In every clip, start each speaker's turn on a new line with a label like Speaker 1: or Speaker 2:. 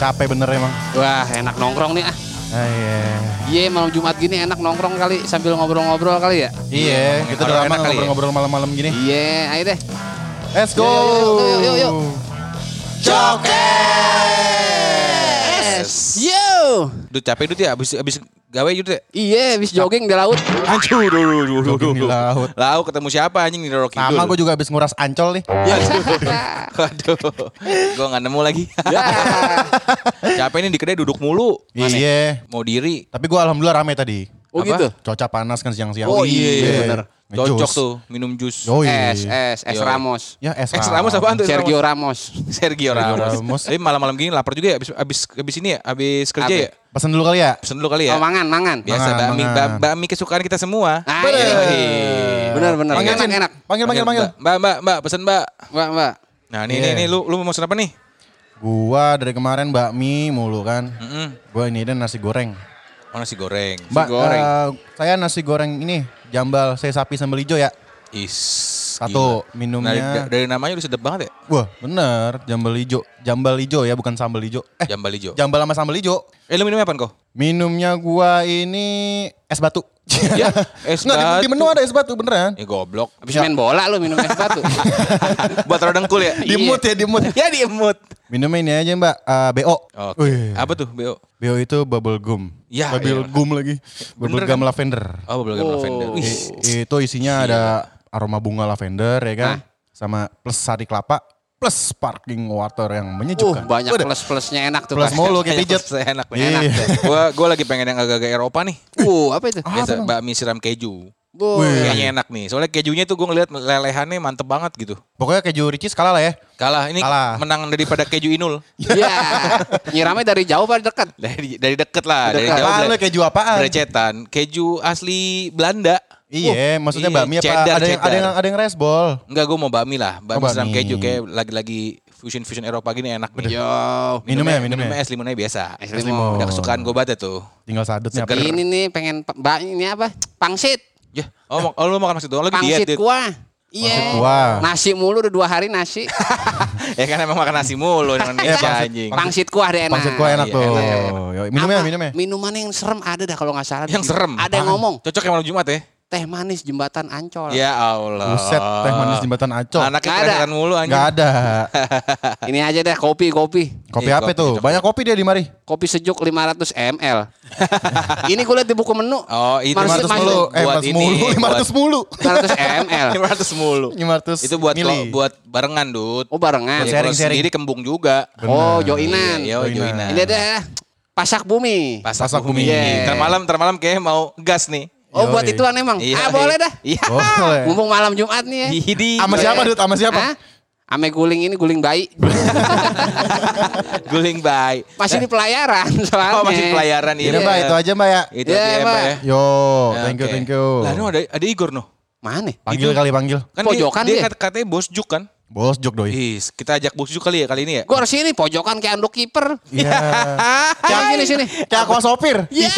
Speaker 1: capek bener emang.
Speaker 2: Wah enak nongkrong nih ah.
Speaker 1: Ah, iya.
Speaker 2: Iya malam Jumat gini enak nongkrong kali sambil ngobrol-ngobrol kali ya.
Speaker 1: Iya, kita udah lama
Speaker 2: Orang enak kali ya?
Speaker 1: ngobrol-ngobrol malam-malam gini.
Speaker 2: Iya ayo deh.
Speaker 1: Let's go.
Speaker 2: Yuk, yuk, yuk, yuk,
Speaker 3: Jokes!
Speaker 2: Yo.
Speaker 3: Duh capek duit ya abis abis gawe duit ya.
Speaker 2: Iya habis jogging di laut.
Speaker 3: Anjir, duh, duh, duh, duh,
Speaker 1: Jogging di
Speaker 3: duh.
Speaker 1: laut.
Speaker 3: Lau ketemu siapa anjing di Roro Kidul.
Speaker 1: Nama gue juga habis nguras ancol nih.
Speaker 3: Ya, Waduh, gue gak nemu lagi.
Speaker 2: Ya.
Speaker 3: Capek nih di kedai duduk mulu. Mana?
Speaker 1: Iya.
Speaker 3: ya? Mau diri.
Speaker 1: Tapi gue alhamdulillah rame tadi.
Speaker 2: Oh
Speaker 3: Apa?
Speaker 2: gitu.
Speaker 1: Cuaca panas kan siang-siang.
Speaker 2: Oh, iya,
Speaker 3: bener.
Speaker 1: Ngejus.
Speaker 3: Cocok tuh minum jus.
Speaker 1: Yoi.
Speaker 2: S S S
Speaker 3: Yoi.
Speaker 2: Ramos.
Speaker 1: Ya es
Speaker 3: Eh, Ramos apaan tuh?
Speaker 2: Sergio Ramos.
Speaker 3: Sergio Ramos.
Speaker 1: Ramos.
Speaker 3: Tapi malam-malam gini lapar juga ya abis abis, abis ini ya, abis kerja
Speaker 2: Apa?
Speaker 3: ya.
Speaker 1: Pesan dulu kali ya.
Speaker 3: Pesen dulu kali ya.
Speaker 2: Oh, mangan, mangan.
Speaker 3: Biasa
Speaker 1: Mangan,
Speaker 3: bakmi,
Speaker 1: mangan.
Speaker 3: ba- bakmi kesukaan kita semua.
Speaker 2: Ah,
Speaker 3: Yoi.
Speaker 2: iya. Bener, bener.
Speaker 1: Panggil,
Speaker 2: Enak,
Speaker 1: Cin.
Speaker 2: enak.
Speaker 1: Panggil, panggil, panggil.
Speaker 3: Mbak, mbak, mbak, pesen mbak.
Speaker 2: Mbak, mbak.
Speaker 3: Nah, ini,
Speaker 1: Iya.
Speaker 3: ini, ini, lu, lu mau pesen apa nih?
Speaker 1: Gua dari kemarin bakmi mulu kan.
Speaker 3: Mm-mm.
Speaker 1: Gua ini dan nasi goreng.
Speaker 3: Oh, nasi goreng.
Speaker 1: Mbak,
Speaker 2: goreng.
Speaker 1: eh, saya nasi goreng ini jambal saya sapi sambal hijau ya.
Speaker 3: Is.
Speaker 1: Satu,
Speaker 3: gila.
Speaker 1: minumnya.
Speaker 3: Nah, da- dari namanya udah sedap banget ya.
Speaker 1: Wah, bener jambal hijau. Jambal hijau ya, bukan sambal hijau. Eh,
Speaker 3: Jambal hijau.
Speaker 1: jambal sama sambal hijau.
Speaker 3: Eh, lu minumnya apa kok?
Speaker 1: Minumnya gua ini es batu.
Speaker 3: Ya, es
Speaker 1: Nggak, di- Di,
Speaker 3: batu.
Speaker 1: menu ada es batu beneran.
Speaker 3: Ya goblok.
Speaker 2: Habis main bola lu minum es batu. Uh,
Speaker 3: Buat orang dengkul ya?
Speaker 2: Di mood
Speaker 3: ya, di mood. Ya, di mood.
Speaker 1: Minumnya ini aja Mbak, eh, BO.
Speaker 3: Oke.
Speaker 1: Wih,
Speaker 3: Apa tuh, Oh, Beo?
Speaker 1: BO itu bubble gum.
Speaker 3: Ya,
Speaker 1: bubble
Speaker 3: iya.
Speaker 1: gum lagi. Bubble
Speaker 3: Bener
Speaker 1: gum
Speaker 3: kan?
Speaker 1: lavender.
Speaker 3: Oh, belum oh.
Speaker 2: Oh.
Speaker 3: lavender. Wih. Iya.
Speaker 1: I- itu isinya ada aroma bunga lavender ya kan,
Speaker 2: Hah?
Speaker 1: sama plus sari kelapa plus sparkling water yang
Speaker 3: Oh,
Speaker 2: Uh,
Speaker 1: menyejukkan.
Speaker 2: banyak
Speaker 1: Waduh,
Speaker 2: plus-plusnya enak tuh.
Speaker 1: plus
Speaker 2: pasti.
Speaker 1: mulu kayak pijet.
Speaker 3: Saya enak,
Speaker 1: Iya.
Speaker 3: enak. Gua gua lagi pengen yang agak-agak Eropa nih.
Speaker 2: Uh, apa itu?
Speaker 1: Ah,
Speaker 3: Biasa
Speaker 1: apa
Speaker 3: bakmi siram keju.
Speaker 1: Wih.
Speaker 2: Wow.
Speaker 3: Kayaknya enak nih. Soalnya kejunya tuh gue ngeliat lelehannya mantep banget gitu.
Speaker 1: Pokoknya keju ricis kalah lah ya.
Speaker 3: Kalah ini
Speaker 1: Kalah.
Speaker 3: menang daripada keju Inul.
Speaker 2: Iya. Nyiramnya dari jauh apa dekat?
Speaker 3: Dari dari deket lah, dari
Speaker 2: Deket.
Speaker 3: jauh.
Speaker 1: Apaan lu
Speaker 3: bele-
Speaker 1: keju apaan?
Speaker 3: Berecetan. Keju asli Belanda.
Speaker 1: Iya,
Speaker 3: Wah,
Speaker 1: maksudnya
Speaker 3: iya,
Speaker 1: bakmi apa?
Speaker 3: cheddar,
Speaker 1: ada yang ada yang
Speaker 3: cheddar.
Speaker 1: ada yang rice ball.
Speaker 3: Enggak, gue mau bakmi lah. Bakmi
Speaker 1: Oh,
Speaker 3: siram
Speaker 1: bakmi.
Speaker 3: keju kayak lagi-lagi fusion-fusion Eropa gini enak nih.
Speaker 2: Yo.
Speaker 1: Minumnya, minumnya.
Speaker 3: minumnya es limonnya biasa.
Speaker 2: Es limon.
Speaker 3: Udah kesukaan gue banget ya tuh.
Speaker 1: Tinggal sadut nih apa?
Speaker 2: Ini nih pengen pe- mbak ini apa? Pangsit.
Speaker 1: Iya.
Speaker 3: Ya, oh, mak- oh, lu makan maksud doang lagi diet,
Speaker 2: Pangsit
Speaker 3: diet.
Speaker 2: kuah. Iya.
Speaker 1: gitu ya, Pangsit kuah.
Speaker 2: Nasi mulu udah dua hari nasi.
Speaker 3: Ya kan emang makan nasi mulu dengan
Speaker 1: Iya,
Speaker 3: Indonesia
Speaker 1: pangsit-
Speaker 3: anjing.
Speaker 2: Pangsit kuah deh enak.
Speaker 1: Pangsit kuah enak
Speaker 3: Iya,
Speaker 1: tuh.
Speaker 3: enak,
Speaker 1: Yoi, Minumnya,
Speaker 2: Apa?
Speaker 1: minumnya.
Speaker 2: Minuman yang serem ada dah kalau nggak salah.
Speaker 3: Yang serem.
Speaker 2: Ada yang ngomong
Speaker 3: Cocok yang malam Jumat ya?
Speaker 2: teh manis jembatan Ancol.
Speaker 1: Iya.
Speaker 3: Ya Allah.
Speaker 1: Buset, teh manis jembatan acok.
Speaker 3: Anaknya
Speaker 2: Nggak ada.
Speaker 3: keresetan mulu anjing.
Speaker 1: Nggak ada.
Speaker 2: Ini aja deh kopi kopi.
Speaker 1: Kopi
Speaker 3: Iya,
Speaker 1: apa
Speaker 3: kopi,
Speaker 1: tuh?
Speaker 3: kopi.
Speaker 1: Banyak kopi dia di mari.
Speaker 2: Kopi sejuk 500 ml. ini gue liat di buku menu.
Speaker 3: Oh, itu
Speaker 1: 500
Speaker 2: Maksud- maksud-
Speaker 1: mulu. Eh,
Speaker 3: buat
Speaker 1: 500
Speaker 3: ini,
Speaker 1: mulu. 500 mulu.
Speaker 2: 500 ml.
Speaker 3: 500 mulu.
Speaker 1: 500
Speaker 3: Itu buat
Speaker 1: mili.
Speaker 3: lo- buat barengan, Dut.
Speaker 2: Oh barengan.
Speaker 3: Eh, Kalau
Speaker 1: sharing-sharing.
Speaker 3: Sendiri kembung juga.
Speaker 2: Oh
Speaker 1: Bener.
Speaker 2: joinan.
Speaker 3: Iya, yo,
Speaker 1: Joinan.
Speaker 3: joinan.
Speaker 2: Ini ada pasak bumi.
Speaker 3: Pasak,
Speaker 1: Pasak Bumi.
Speaker 3: bumi.
Speaker 2: Iya.
Speaker 3: Ntar malam, ntar malam kayak mau gas nih.
Speaker 2: Oh buat
Speaker 1: Yoi.
Speaker 2: ituan emang. Ah
Speaker 3: Iya.
Speaker 2: boleh dah.
Speaker 3: Iya.
Speaker 1: Boleh. Iya.
Speaker 2: Mumpung malam Jumat nih ya.
Speaker 3: Hidi.
Speaker 1: Sama siapa, Dut? Sama siapa?
Speaker 2: Hah? Ame guling ini guling bayi.
Speaker 3: Guling bay.
Speaker 2: Masih di pelayaran soalnya.
Speaker 3: Oh, masih pelayaran.
Speaker 1: Iya, Mbak, itu aja, Mbak ya.
Speaker 3: Itu
Speaker 2: Iya,
Speaker 3: aja,
Speaker 2: Mbak.
Speaker 3: Mbak ya.
Speaker 1: Yo, thank you,
Speaker 3: Oke.
Speaker 1: thank you.
Speaker 3: Lah, ini ada ada Igor noh.
Speaker 2: Mana?
Speaker 1: Panggil
Speaker 3: itu-
Speaker 1: kali panggil.
Speaker 3: Kan
Speaker 2: Pojokan
Speaker 3: dia, dia
Speaker 2: dia.
Speaker 3: kat- katanya bos Juk kan?
Speaker 1: Bos jok doi.
Speaker 3: Ih, kita ajak bos Juk kali ya kali ini ya.
Speaker 2: Gue harus sini pojokan kayak anduk kiper.
Speaker 1: Iya.
Speaker 2: Ayo sini sini.
Speaker 1: Kayak aku sopir.
Speaker 2: Iya.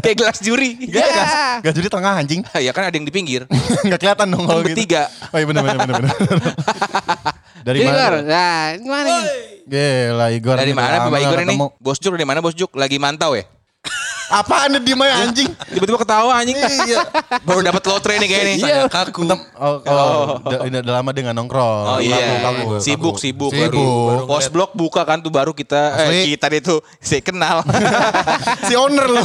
Speaker 3: Kayak gelas juri.
Speaker 2: Iya.
Speaker 1: Gak jadi tengah anjing.
Speaker 3: ya kan ada yang di pinggir.
Speaker 1: Gak kelihatan dong kalau
Speaker 3: Kan
Speaker 1: gitu.
Speaker 3: bertiga. Iya,
Speaker 1: Oh iya bener bener bener. bener. Dari
Speaker 2: Igor,
Speaker 1: mana?
Speaker 2: nah ini mana? nih?
Speaker 1: Gila Igor.
Speaker 3: Dari
Speaker 1: nih,
Speaker 3: mana
Speaker 1: lama
Speaker 3: Bapak
Speaker 1: gak
Speaker 3: Igor ini?
Speaker 1: ketemu.
Speaker 3: Bos Juk dari mana Bos Juk? Lagi mantau ya?
Speaker 1: Apaan di mana anjing?
Speaker 3: Tiba-tiba ketawa anjing.
Speaker 1: Iya.
Speaker 3: Baru dapat lotre nih kayaknya.
Speaker 2: Iya.
Speaker 3: kaku.
Speaker 1: Tem- Oh, oh, udah- udah udah lama dengan nongkrong.
Speaker 3: Oh
Speaker 1: Kaku,
Speaker 3: iya,
Speaker 1: kaku,
Speaker 3: sibuk,
Speaker 1: kaku.
Speaker 3: sibuk,
Speaker 1: Sibuk.
Speaker 3: baru. Post blog buka kan tuh baru kita eh,
Speaker 1: Asli.
Speaker 3: kita deh tuh saya kenal.
Speaker 1: si owner loh.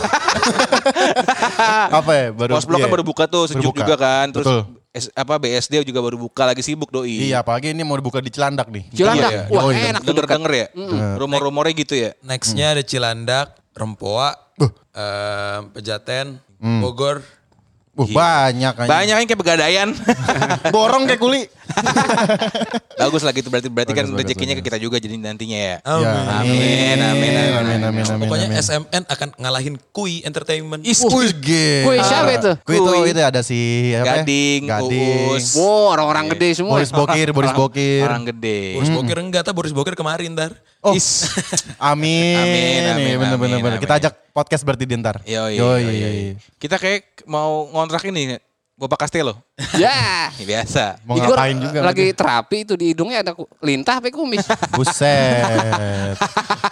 Speaker 1: Apa ya? Baru
Speaker 3: Post blog kan
Speaker 1: iya.
Speaker 3: baru buka tuh
Speaker 1: Baru
Speaker 3: sejuk
Speaker 1: buka.
Speaker 3: juga kan. Terus
Speaker 1: Betul.
Speaker 3: S- apa BSD juga baru buka lagi sibuk doi.
Speaker 1: Iya, apalagi ini mau dibuka di Cilandak nih.
Speaker 2: Cilandak.
Speaker 3: Iya, iya.
Speaker 2: Wah,
Speaker 1: Oh, iya.
Speaker 2: enak tuh
Speaker 3: Denger
Speaker 2: dekat.
Speaker 3: denger ya. Rumor-rumornya gitu ya.
Speaker 4: Nextnya ada Cilandak, Rempoa, eh, Pejaten,
Speaker 1: Hmm.
Speaker 4: Bogor.
Speaker 1: Wah, banyak anjing.
Speaker 3: Banyak yang kayak pegadaian.
Speaker 1: Borong kayak kuli.
Speaker 3: bagus lah gitu berarti berarti kan
Speaker 1: Bagus, bagus,
Speaker 3: rezekinya ke kita juga jadi nantinya ya.
Speaker 4: Amin.
Speaker 3: Amin, amin, amin,
Speaker 1: amin, amin, amin.
Speaker 4: Pokoknya SMN akan ngalahin Kui Entertainment.
Speaker 3: Is
Speaker 1: Wih, gila.
Speaker 2: Kui siapa itu?
Speaker 1: Kui Ah. itu,
Speaker 3: Kui.
Speaker 1: itu ada si apa ya?
Speaker 3: Gading,
Speaker 1: Gading.
Speaker 3: Uus. Ah.
Speaker 2: Wow, orang-orang gede semua.
Speaker 1: Boris Bokir, Boris Bokir.
Speaker 3: Orang gede.
Speaker 1: Hmm.
Speaker 4: Boris Bokir enggak, tau Boris Bokir kemarin ntar.
Speaker 1: Oh,
Speaker 3: Is.
Speaker 1: amin.
Speaker 3: Amin, amin,
Speaker 1: Nih, bener,
Speaker 3: amin,
Speaker 1: bener, bener. Kita
Speaker 3: amin.
Speaker 1: ajak podcast berarti di ntar.
Speaker 3: Yoi,
Speaker 1: Yoi.
Speaker 3: yoi. Kita kayak mau ngontrak ini Boba Castello.
Speaker 2: Ya.
Speaker 3: Biasa.
Speaker 1: Mau
Speaker 2: Ih, gua
Speaker 1: ngapain juga
Speaker 2: Lagi terapi itu di hidungnya ada ku- lintah apa kumis.
Speaker 1: berarti. Buset.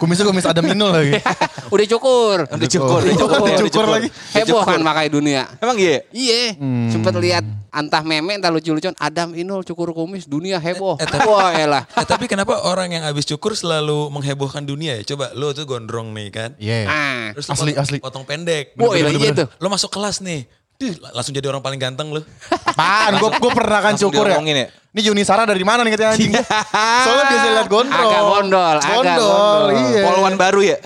Speaker 1: Kumisnya kumis ada minul lagi.
Speaker 2: Udah cukur.
Speaker 3: Udah cukur, udah cukur,
Speaker 1: Cukur
Speaker 3: udah
Speaker 1: lagi.
Speaker 2: Heboh kan makanya dunia.
Speaker 3: Emang iya?
Speaker 2: Iya, sempet lihat antah meme entah lucu-lucuan Adam Inul cukur kumis dunia heboh.
Speaker 4: Eh, eh, tapi-
Speaker 2: Oh, Wah elah.
Speaker 4: Eh, tapi kenapa orang yang habis cukur selalu menghebohkan dunia ya? Coba lo tuh gondrong nih kan.
Speaker 1: Iya.
Speaker 2: Ah.
Speaker 4: Terus
Speaker 1: Asli,
Speaker 4: potong,
Speaker 1: asli.
Speaker 4: potong pendek.
Speaker 2: Wah,
Speaker 4: Bener-bener,
Speaker 2: iya
Speaker 4: bener-bener.
Speaker 2: tuh.
Speaker 4: Lo masuk kelas nih. Dih, la- langsung jadi orang paling ganteng lo.
Speaker 1: Apaan? Gue gue pernah kan
Speaker 3: Langsung
Speaker 1: syukur ya.
Speaker 3: diomongin ya?
Speaker 1: Ini Juni Sara dari mana nih katanya anjing? Soalnya biasa lihat gondrol.
Speaker 2: Agak gondol, agak
Speaker 1: Gondol,
Speaker 2: gondol.
Speaker 1: iya.
Speaker 3: Polwan baru ya?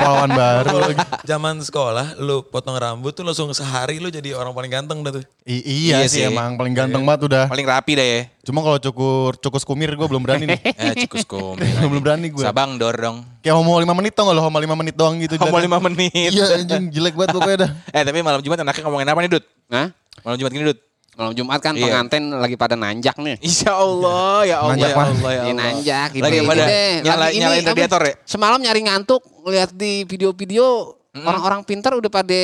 Speaker 1: Polwan baru lagi.
Speaker 4: Zaman sekolah lo potong rambut tuh langsung sehari lo jadi orang paling ganteng dah tuh.
Speaker 1: I- iya,
Speaker 3: Iya
Speaker 1: sih
Speaker 3: sih.
Speaker 1: emang paling ganteng banget udah.
Speaker 3: Paling rapi dah ya.
Speaker 1: Cuma kalau cukur cukus kumir gue belum berani nih.
Speaker 3: Eh, cukus komik.
Speaker 1: belum berani gue.
Speaker 3: Sabang dor dong.
Speaker 1: Kayak homo 5 menit tau gak lo homo 5 menit doang gitu.
Speaker 3: Ngomong
Speaker 1: dilihatnya.
Speaker 3: lima menit.
Speaker 1: Iya anjing jelek banget pokoknya dah.
Speaker 3: Eh tapi malam Jumat anaknya ngomongin apa nih Dut?
Speaker 2: Nah,
Speaker 3: Malam Jumat gini Dut?
Speaker 2: malam Jumat kan
Speaker 3: Iya.
Speaker 2: pengantin lagi pada nanjak nih.
Speaker 3: Insya Allah, ya Allah,
Speaker 1: Nanjak,
Speaker 3: ya
Speaker 1: Pak.
Speaker 3: Allah, ya
Speaker 2: Ini
Speaker 3: Allah.
Speaker 2: nanjak gitu.
Speaker 3: Lagi pada
Speaker 2: Ini,
Speaker 3: nyala,
Speaker 2: lagi ini,
Speaker 3: nyalain
Speaker 2: apa,
Speaker 3: radiator ya?
Speaker 2: Semalam nyari ngantuk lihat di video-video orang-orang pintar udah pada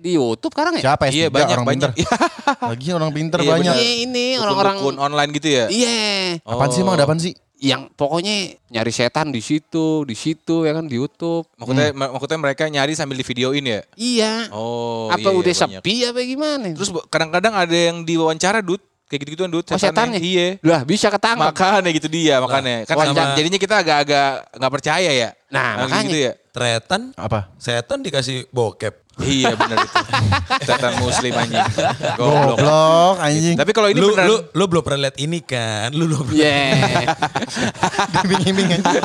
Speaker 2: di YouTube sekarang ya?
Speaker 1: Siapa ya?
Speaker 3: Iya banyak,
Speaker 1: orang
Speaker 3: banyak.
Speaker 1: pinter. Lagi orang pinter
Speaker 3: Iya,
Speaker 1: banyak.
Speaker 2: Iya, ini
Speaker 3: Dukun
Speaker 2: orang-orang
Speaker 3: online gitu ya?
Speaker 2: Iya.
Speaker 1: Apaan sih emang ada apaan sih?
Speaker 2: Yang pokoknya nyari setan di situ, di situ ya kan di YouTube.
Speaker 3: Maksudnya,
Speaker 1: Hmm.
Speaker 3: maksudnya mereka nyari sambil di videoin ya?
Speaker 2: Iya.
Speaker 3: Oh,
Speaker 2: apa
Speaker 3: iya,
Speaker 2: udah
Speaker 3: banyak.
Speaker 2: sepi apa gimana?
Speaker 3: Terus bu- kadang-kadang ada yang diwawancara Dut, kayak gitu-gituan Dut.
Speaker 2: oh, setannya.
Speaker 3: Iya.
Speaker 2: Lah bisa ketangkap.
Speaker 3: Makanya gitu dia, makanya. Kan
Speaker 4: Wawancara.
Speaker 3: sama- jadinya kita agak-agak nggak percaya ya.
Speaker 2: Nah,
Speaker 3: Agak
Speaker 2: makanya.
Speaker 3: Gitu ya.
Speaker 4: Tretan,
Speaker 1: Apa?
Speaker 4: setan dikasih bokep.
Speaker 3: Iya benar itu. Setan muslim anjing. Goblok. Iya,
Speaker 1: Goblok anjing.
Speaker 3: Tapi kalau Oh, ini
Speaker 4: lu,
Speaker 3: beneran
Speaker 4: lu, lu belum pernah lihat ini kan? Lu belum pernah.
Speaker 2: Iya.
Speaker 1: Bimbing-bimbing anjing.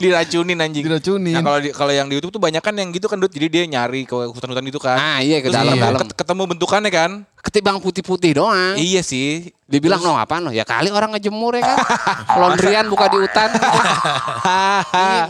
Speaker 3: diracunin anjing.
Speaker 1: Diracunin.
Speaker 3: Nah, kalau di- kalau yang di YouTube tuh banyak kan yang gitu kan Dut. Jadi dia nyari ke hutan-hutan gitu kan.
Speaker 2: Ah, iya, ke
Speaker 3: Terus
Speaker 2: dalam-
Speaker 3: ketemu-
Speaker 2: dalam.
Speaker 3: ket- Ketemu bentukannya kan?
Speaker 2: Ketimbang putih-putih doang.
Speaker 3: Iya sih.
Speaker 2: Dibilang no apaan lo? Ya kali orang ngejemur ya kan. Laundryan buka di hutan.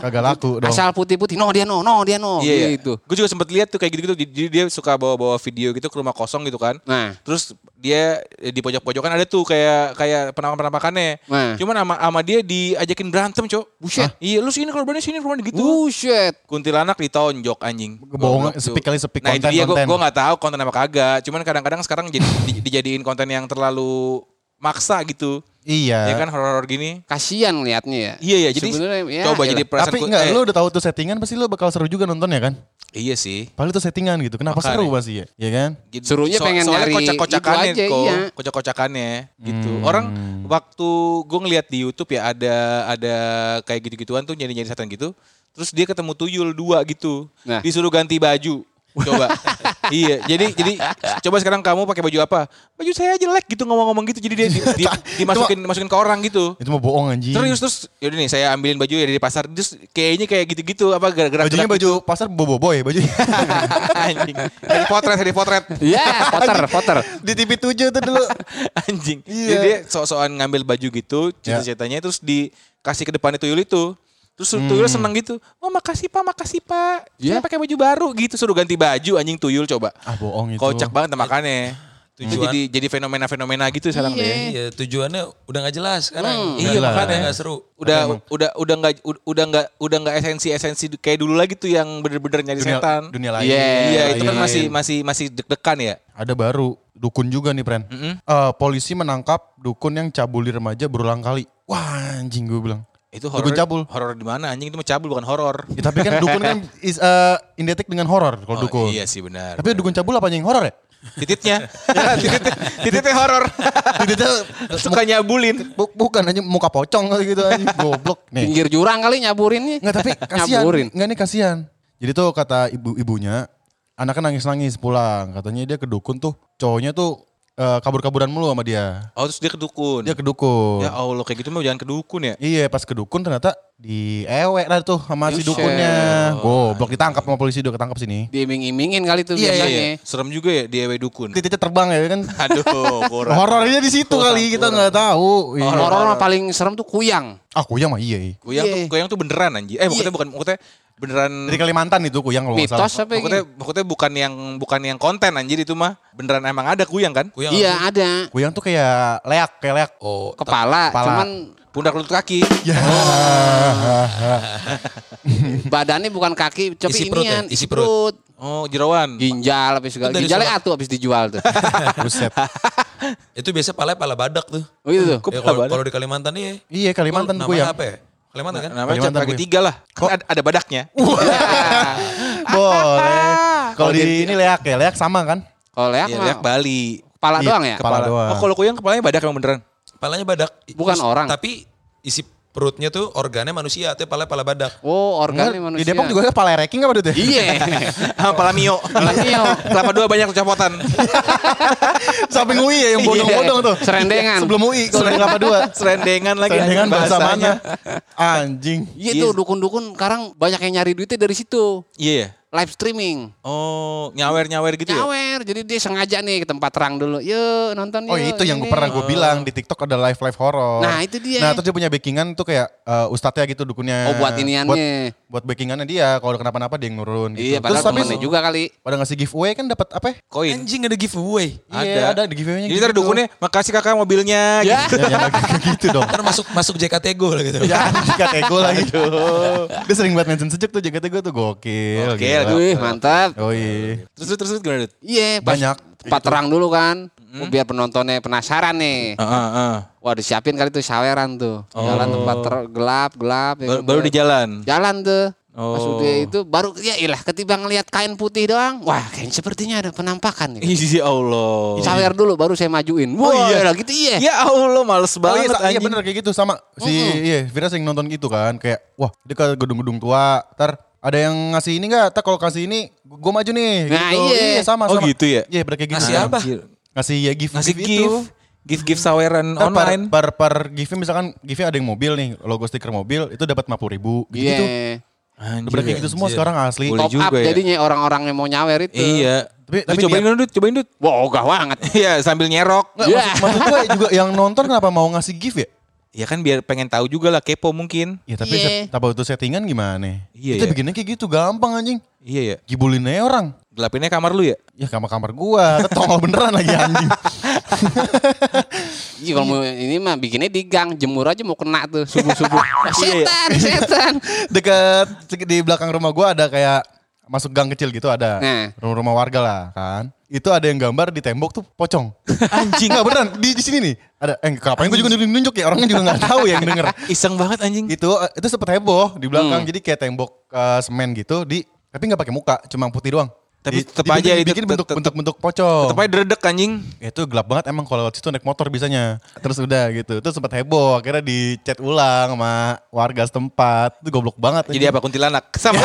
Speaker 1: Kagak laku dong.
Speaker 2: Asal putih-putih. No dia no, no dia no.
Speaker 3: iya,
Speaker 2: Gitu.
Speaker 3: Gue juga sempet lihat tuh kayak gitu-gitu. Jadi dia suka bawa-bawa video gitu ke rumah kosong gitu kan.
Speaker 2: Nah.
Speaker 3: Terus dia eh, di pojok-pojokan ada tuh kayak kayak penampakan-penampakannya.
Speaker 2: Nah.
Speaker 3: Cuman sama sama dia diajakin berantem, Cok.
Speaker 2: Buset.
Speaker 3: Hah? Iya, lu sini kalau berani sini rumah
Speaker 2: Uh,
Speaker 3: gitu.
Speaker 2: Buset.
Speaker 3: Kuntilanak ditonjok anjing.
Speaker 1: Bohongan,
Speaker 3: Goblok tuh.
Speaker 1: speak kali speak,
Speaker 3: Nah, itu
Speaker 1: konten,
Speaker 3: dia gue
Speaker 1: konten.
Speaker 3: gue nggak tahu konten apa kagak. Cuman kadang-kadang sekarang jadi di- dijadiin konten yang terlalu maksa gitu. Ya
Speaker 1: Iya.
Speaker 3: kan horor-horor gini.
Speaker 2: Kasian liatnya ya.
Speaker 3: Iya ya, jadi
Speaker 2: Sebenarnya, ya,
Speaker 3: coba
Speaker 2: iyalah.
Speaker 3: jadi perasaan
Speaker 1: Tapi
Speaker 3: ku-
Speaker 1: enggak,
Speaker 3: eh,
Speaker 1: lu udah tahu tuh settingan pasti lu bakal seru juga nonton ya kan?
Speaker 3: Iya sih.
Speaker 1: Paling tuh settingan gitu. Kenapa
Speaker 3: Makanya.
Speaker 1: seru pasti ya? Iya kan?
Speaker 3: Gitu.
Speaker 2: Serunya pengen
Speaker 3: soalnya
Speaker 2: nyari
Speaker 3: kocak-kocakannya
Speaker 2: itu aja,
Speaker 3: kok,
Speaker 2: iya. Hmm.
Speaker 3: kocak-kocakannya gitu. Orang waktu gue ngeliat di YouTube ya ada ada kayak gitu-gituan tuh nyari-nyari setan gitu. Terus dia ketemu tuyul dua gitu.
Speaker 2: Nah.
Speaker 3: Disuruh ganti baju. Coba. iya, jadi jadi coba sekarang kamu pakai baju apa? Baju saya jelek gitu ngomong-ngomong gitu. Jadi dia di- di- dimasukin masukin ke orang gitu.
Speaker 1: Itu mah bohong
Speaker 2: Iya.
Speaker 1: anjing.
Speaker 3: Terus terus yaudah nih saya ambilin baju ya dari pasar. Terus kayaknya kayak gitu-gitu apa gara-gara
Speaker 1: Bajunya
Speaker 3: gitu.
Speaker 1: baju pasar bobo boy baju.
Speaker 3: anjing. Dari potret, dari potret.
Speaker 2: Iya, poter, poter.
Speaker 1: Di TV 7 tuh dulu.
Speaker 3: anjing.
Speaker 1: Iya. Ya.
Speaker 3: Jadi dia sok-sokan ngambil baju gitu, cerita-ceritanya terus dikasih ke depannya tuyul itu. Terus tuyul
Speaker 1: Hmm.
Speaker 3: seneng gitu. Oh makasih pak, makasih pak. Saya
Speaker 2: Iya.
Speaker 3: pakai baju baru gitu. Suruh ganti baju anjing tuyul coba.
Speaker 1: Ah bohong itu. Iya.
Speaker 3: Kocak banget makanya. Itu
Speaker 4: Tujuan-
Speaker 3: jadi jadi fenomena-fenomena gitu sekarang deh.
Speaker 4: Iya, tujuannya udah nggak jelas sekarang.
Speaker 3: Iya,
Speaker 4: Udah
Speaker 3: makanya.
Speaker 4: nggak seru.
Speaker 3: Udah udah udah nggak udah nggak udah nggak esensi-esensi kayak dulu lagi tuh yang bener-bener nyari
Speaker 1: dunia,
Speaker 3: setan.
Speaker 1: dunia lain.
Speaker 2: Iya,
Speaker 3: Iya, itu kan
Speaker 2: Lain.
Speaker 3: masih masih masih deg-degan ya.
Speaker 1: Ada baru dukun juga nih, Pren. Eh, polisi menangkap dukun yang cabuli remaja berulang kali. Wah, anjing gue bilang.
Speaker 3: Itu
Speaker 1: Dukun
Speaker 3: horor.
Speaker 1: cabul.
Speaker 3: Horor di mana anjing itu mah cabul bukan horor.
Speaker 1: Ya, tapi kan dukun kan is eh, identik dengan horor kalau
Speaker 3: Oh,
Speaker 1: dukun.
Speaker 3: Iya sih benar.
Speaker 1: Tapi dukun cabul apanya yang horor ya?
Speaker 3: tititnya tititnya, tititnya horor
Speaker 1: Tidaknya
Speaker 3: suka nyabulin
Speaker 1: bu- bukan hanya muka pocong gitu anjing. goblok
Speaker 3: Iya.
Speaker 1: nih.
Speaker 2: Pinggir jurang kali nyaburinnya.
Speaker 1: Enggak tapi kasihan.
Speaker 2: Nyaburin.
Speaker 1: Enggak nih kasihan. Jadi tuh kata ibu-ibunya, anaknya nangis-nangis pulang. Katanya dia ke dukun tuh, cowoknya tuh eh, kabur-kaburan mulu sama dia.
Speaker 3: oh terus dia kedukun
Speaker 1: Dia ke dukun.
Speaker 3: ya Allah kayak gitu mah jangan kedukun ya
Speaker 1: Iya pas ke dukun ternyata diewek lah tuh sama si
Speaker 2: Buset. Iya.
Speaker 1: dukunnya. Goblok ditangkap sama polisi udah ketangkap sini.
Speaker 2: Diiming-imingin kali tuh
Speaker 1: Iya,
Speaker 2: biasanya.
Speaker 3: serem juga ya dia dukun
Speaker 1: Titiknya terbang ya kan.
Speaker 3: aduh kurang
Speaker 1: Horornya di situ kali kita nggak tahu. Iya.
Speaker 2: Horor mah paling serem tuh kuyang.
Speaker 1: Ah kuyang mah iya. iya.
Speaker 3: kuyang tuh
Speaker 2: Iya.
Speaker 3: kuyang tuh beneran anjir eh maksudnya bukan maksudnya beneran
Speaker 1: Dari Kalimantan itu kuyang kalau nggak
Speaker 2: Mitos
Speaker 1: salah.
Speaker 2: apa
Speaker 3: maksudnya
Speaker 2: gitu?
Speaker 3: maksudnya bukan yang bukan yang konten anjir itu mah beneran emang ada kuyang kan
Speaker 4: Kuyang
Speaker 2: Iya
Speaker 4: apa?
Speaker 2: ada.
Speaker 1: Kuyang tuh kayak leak, kayak leak.
Speaker 4: Oh,
Speaker 1: Kepala.
Speaker 2: Kepala, cuman
Speaker 3: pundak lutut kaki
Speaker 1: Ya.
Speaker 2: badannya bukan kaki, tapi
Speaker 4: Isi perut ya?
Speaker 2: inian,
Speaker 4: Isi perut.
Speaker 3: Oh, jeroan.
Speaker 2: Ginjal habis segala.
Speaker 4: Itu dari
Speaker 2: Ginjalnya
Speaker 4: sobat-
Speaker 2: atuh habis dijual tuh.
Speaker 1: Buset.
Speaker 4: Itu biasa pala pala badak tuh.
Speaker 2: Oh gitu tuh.
Speaker 3: Kok
Speaker 4: Ya,
Speaker 3: pala
Speaker 4: kalau
Speaker 3: badak?
Speaker 4: kalau di Kalimantan iya.
Speaker 1: Iya Kalimantan
Speaker 4: Namanya
Speaker 1: gue ya.
Speaker 4: apa ya? Kalimantan kan?
Speaker 3: Namanya
Speaker 1: Kalimantan
Speaker 3: cap
Speaker 1: gue.
Speaker 3: kaki tiga lah. Kan ada, ada badaknya.
Speaker 1: Boleh. Kalau
Speaker 2: Oh,
Speaker 1: di
Speaker 2: jadi-
Speaker 1: ini leak ya, leak sama kan?
Speaker 2: Kalau leak
Speaker 3: Iya,
Speaker 2: mah
Speaker 3: lihat Bali.
Speaker 2: kepala
Speaker 1: Iya,
Speaker 2: doang ya?
Speaker 1: kepala. doang.
Speaker 3: Oh, kalau kuyang kepalanya badak emang beneran.
Speaker 1: nah.
Speaker 4: Palanya badak. I-
Speaker 2: Bukan
Speaker 4: is-
Speaker 2: orang.
Speaker 4: Tapi isi perutnya tuh organnya manusia, tapi pala pala badak.
Speaker 2: Oh, organnya
Speaker 1: Enggak, Di
Speaker 2: manusia.
Speaker 1: Depok juga kepala reking apa Dut? ya?
Speaker 2: Iya.
Speaker 3: Ah, Kepala Mio.
Speaker 2: Kepala Mio.
Speaker 3: Kelapa dua banyak kecopotan.
Speaker 1: Samping UI ya yang
Speaker 2: Iya.
Speaker 1: bodong-bodong tuh.
Speaker 2: Serendengan.
Speaker 1: Sebelum UI kalau di Kelapa Dua.
Speaker 3: Serendengan lagi.
Speaker 1: Serendengan bahasa
Speaker 3: bahasanya.
Speaker 1: mana? Anjing.
Speaker 2: Iya
Speaker 3: Iya.
Speaker 2: tuh dukun-dukun sekarang banyak yang nyari duitnya dari situ.
Speaker 3: Iya ya.
Speaker 2: Live streaming.
Speaker 3: Oh, nyawer-nyawer
Speaker 1: Iya.
Speaker 3: gitu ya?
Speaker 2: Nyawer. Jadi dia sengaja nih ke tempat terang dulu. Yuk nonton
Speaker 1: Oh
Speaker 2: yuk,
Speaker 1: itu yang
Speaker 2: ini.
Speaker 1: pernah gue bilang di TikTok ada live live horror.
Speaker 2: Nah, itu dia.
Speaker 1: Nah terus dia punya backingan tuh kayak eh, ustadznya gitu dukunnya.
Speaker 2: Oh, buat iniannya.
Speaker 1: Buat, buat backingannya dia. Kalau kenapa-napa dia yang nurun gitu.
Speaker 2: Iya, padahal
Speaker 1: terus habis
Speaker 2: temennya juga kali.
Speaker 1: pada ngasih giveaway kan dapat apa? ya?
Speaker 3: Koin.
Speaker 4: Anjing ada giveaway.
Speaker 1: Iya ada di giveaway-nya.
Speaker 3: Jadi ntar dukunnya, makasih kakak mobilnya.
Speaker 2: Ya.
Speaker 1: Ya, ya, kayak gitu dong.
Speaker 4: Ntar masuk masuk JKT Go lah gitu.
Speaker 1: Ya anjing kakek gue lagi. Dia sering banget mention sejak tuh jagatnya gue tuh gokil.
Speaker 3: Gokil.
Speaker 1: gila.
Speaker 2: Wih, mantap.
Speaker 1: Oh iya.
Speaker 3: Terus terus terus gimana? Dut?
Speaker 2: Iya, pas
Speaker 1: Banyak. Gitu.
Speaker 2: Tempat terang dulu kan. Oh, Biar penontonnya penasaran nih.
Speaker 3: Ah, ah, ah.
Speaker 2: Wah, disiapin kali tuh saweran tuh. Jalan
Speaker 1: Oh.
Speaker 2: tempat ter- gelap, gelap. ya
Speaker 3: Baru,
Speaker 2: kan,
Speaker 3: baru
Speaker 2: buat-
Speaker 3: di jalan.
Speaker 2: Jalan tuh. Pas
Speaker 3: Oh.
Speaker 2: udah itu baru ya ilah ketimbang ngelihat kain putih doang. Wah, kayaknya sepertinya ada penampakan nih.
Speaker 3: Iya Allah.
Speaker 2: Sawer dulu baru saya majuin. Wah,
Speaker 3: iya.
Speaker 2: iyalah, gitu iya.
Speaker 3: Ya Allah, males
Speaker 1: Oh iya,
Speaker 3: banget
Speaker 1: sa- iya
Speaker 3: anjing.
Speaker 1: bener kayak gitu sama si iya Vira sering nonton gitu kan kayak wah dia ke gedung-gedung tua tar ada yang ngasih ini nggak tar kalau kasih ini gue maju nih
Speaker 2: Nah,
Speaker 1: gitu.
Speaker 2: iya.
Speaker 1: sama
Speaker 3: Oh,
Speaker 1: sama
Speaker 3: gitu ya?
Speaker 1: iya bener kayak gitu
Speaker 4: Ngasih apa?
Speaker 3: Anjir.
Speaker 1: ngasih ya gift
Speaker 3: Ngasih
Speaker 1: gift
Speaker 3: gift,
Speaker 1: itu
Speaker 3: gift gift saweran
Speaker 1: Ntar per,
Speaker 3: online.
Speaker 1: per, per giftnya misalkan giftnya ada yang mobil nih logo stiker mobil itu dapat 50 ribu gitu,
Speaker 2: Iya.
Speaker 3: Anjir,
Speaker 1: bener kayak gitu semua
Speaker 4: anjir.
Speaker 1: sekarang asli
Speaker 3: Boleh.
Speaker 2: Top up
Speaker 3: juga ya.
Speaker 2: jadinya orang-orang yang mau nyawer itu.
Speaker 3: Iya.
Speaker 1: Tapi-
Speaker 3: Lu
Speaker 1: tapi
Speaker 3: cobain
Speaker 1: dia-
Speaker 3: dong, Dut, cobain Dut.
Speaker 2: Wah, ogah banget.
Speaker 3: Iya, sambil nyerok.
Speaker 1: Nggak,
Speaker 2: Iya.
Speaker 1: maksud, maksud gue juga yang nonton kenapa mau ngasih gift ya
Speaker 3: Ya kan biar pengen tahu juga lah kepo mungkin.
Speaker 1: ya tapi
Speaker 2: Iya.
Speaker 1: set- tapi itu settingan gimana
Speaker 3: Iya,
Speaker 1: kita
Speaker 3: iya.
Speaker 1: bikinnya kayak gitu gampang anjing
Speaker 3: Iya ya.
Speaker 1: gibulin aja orang
Speaker 3: Gelapinnya kamar lu ya?
Speaker 1: ya kamar-kamar gua tongol beneran lagi anjing
Speaker 2: Iya kalau mau ini mah bikinnya di gang, jemur aja mau kena tuh subuh-subuh.
Speaker 3: Iya,
Speaker 2: setan, setan.
Speaker 1: dekat di belakang rumah gua ada kayak masuk gang kecil gitu ada
Speaker 2: Nah.
Speaker 1: rumah, rumah warga lah kan itu ada yang gambar di tembok tuh pocong anjing nggak beneran di, di sini nih ada eh ngapain gue juga nunjuk nunjuk ya orangnya juga nggak tahu yang denger
Speaker 3: Iseng banget anjing.
Speaker 1: itu eh, itu sempet heboh di
Speaker 3: Hmm.
Speaker 1: belakang jadi kayak tembok eh, semen gitu di tapi nggak pakai muka cuma putih doang
Speaker 3: Tapi
Speaker 1: Di-
Speaker 3: tetep
Speaker 1: dibikin-
Speaker 3: aja itu
Speaker 1: dibikin
Speaker 3: tetep-
Speaker 1: bentuk
Speaker 3: tetep-
Speaker 1: bentuk bentuk pocong
Speaker 3: Tetep aja deredek anjing.
Speaker 1: itu gelap banget emang kalau lewat situ naik motor bisanya terus udah gitu itu sempat heboh akhirnya dicat ulang sama warga setempat itu goblok banget
Speaker 3: Jadi apa kuntilanak? Iya. Sama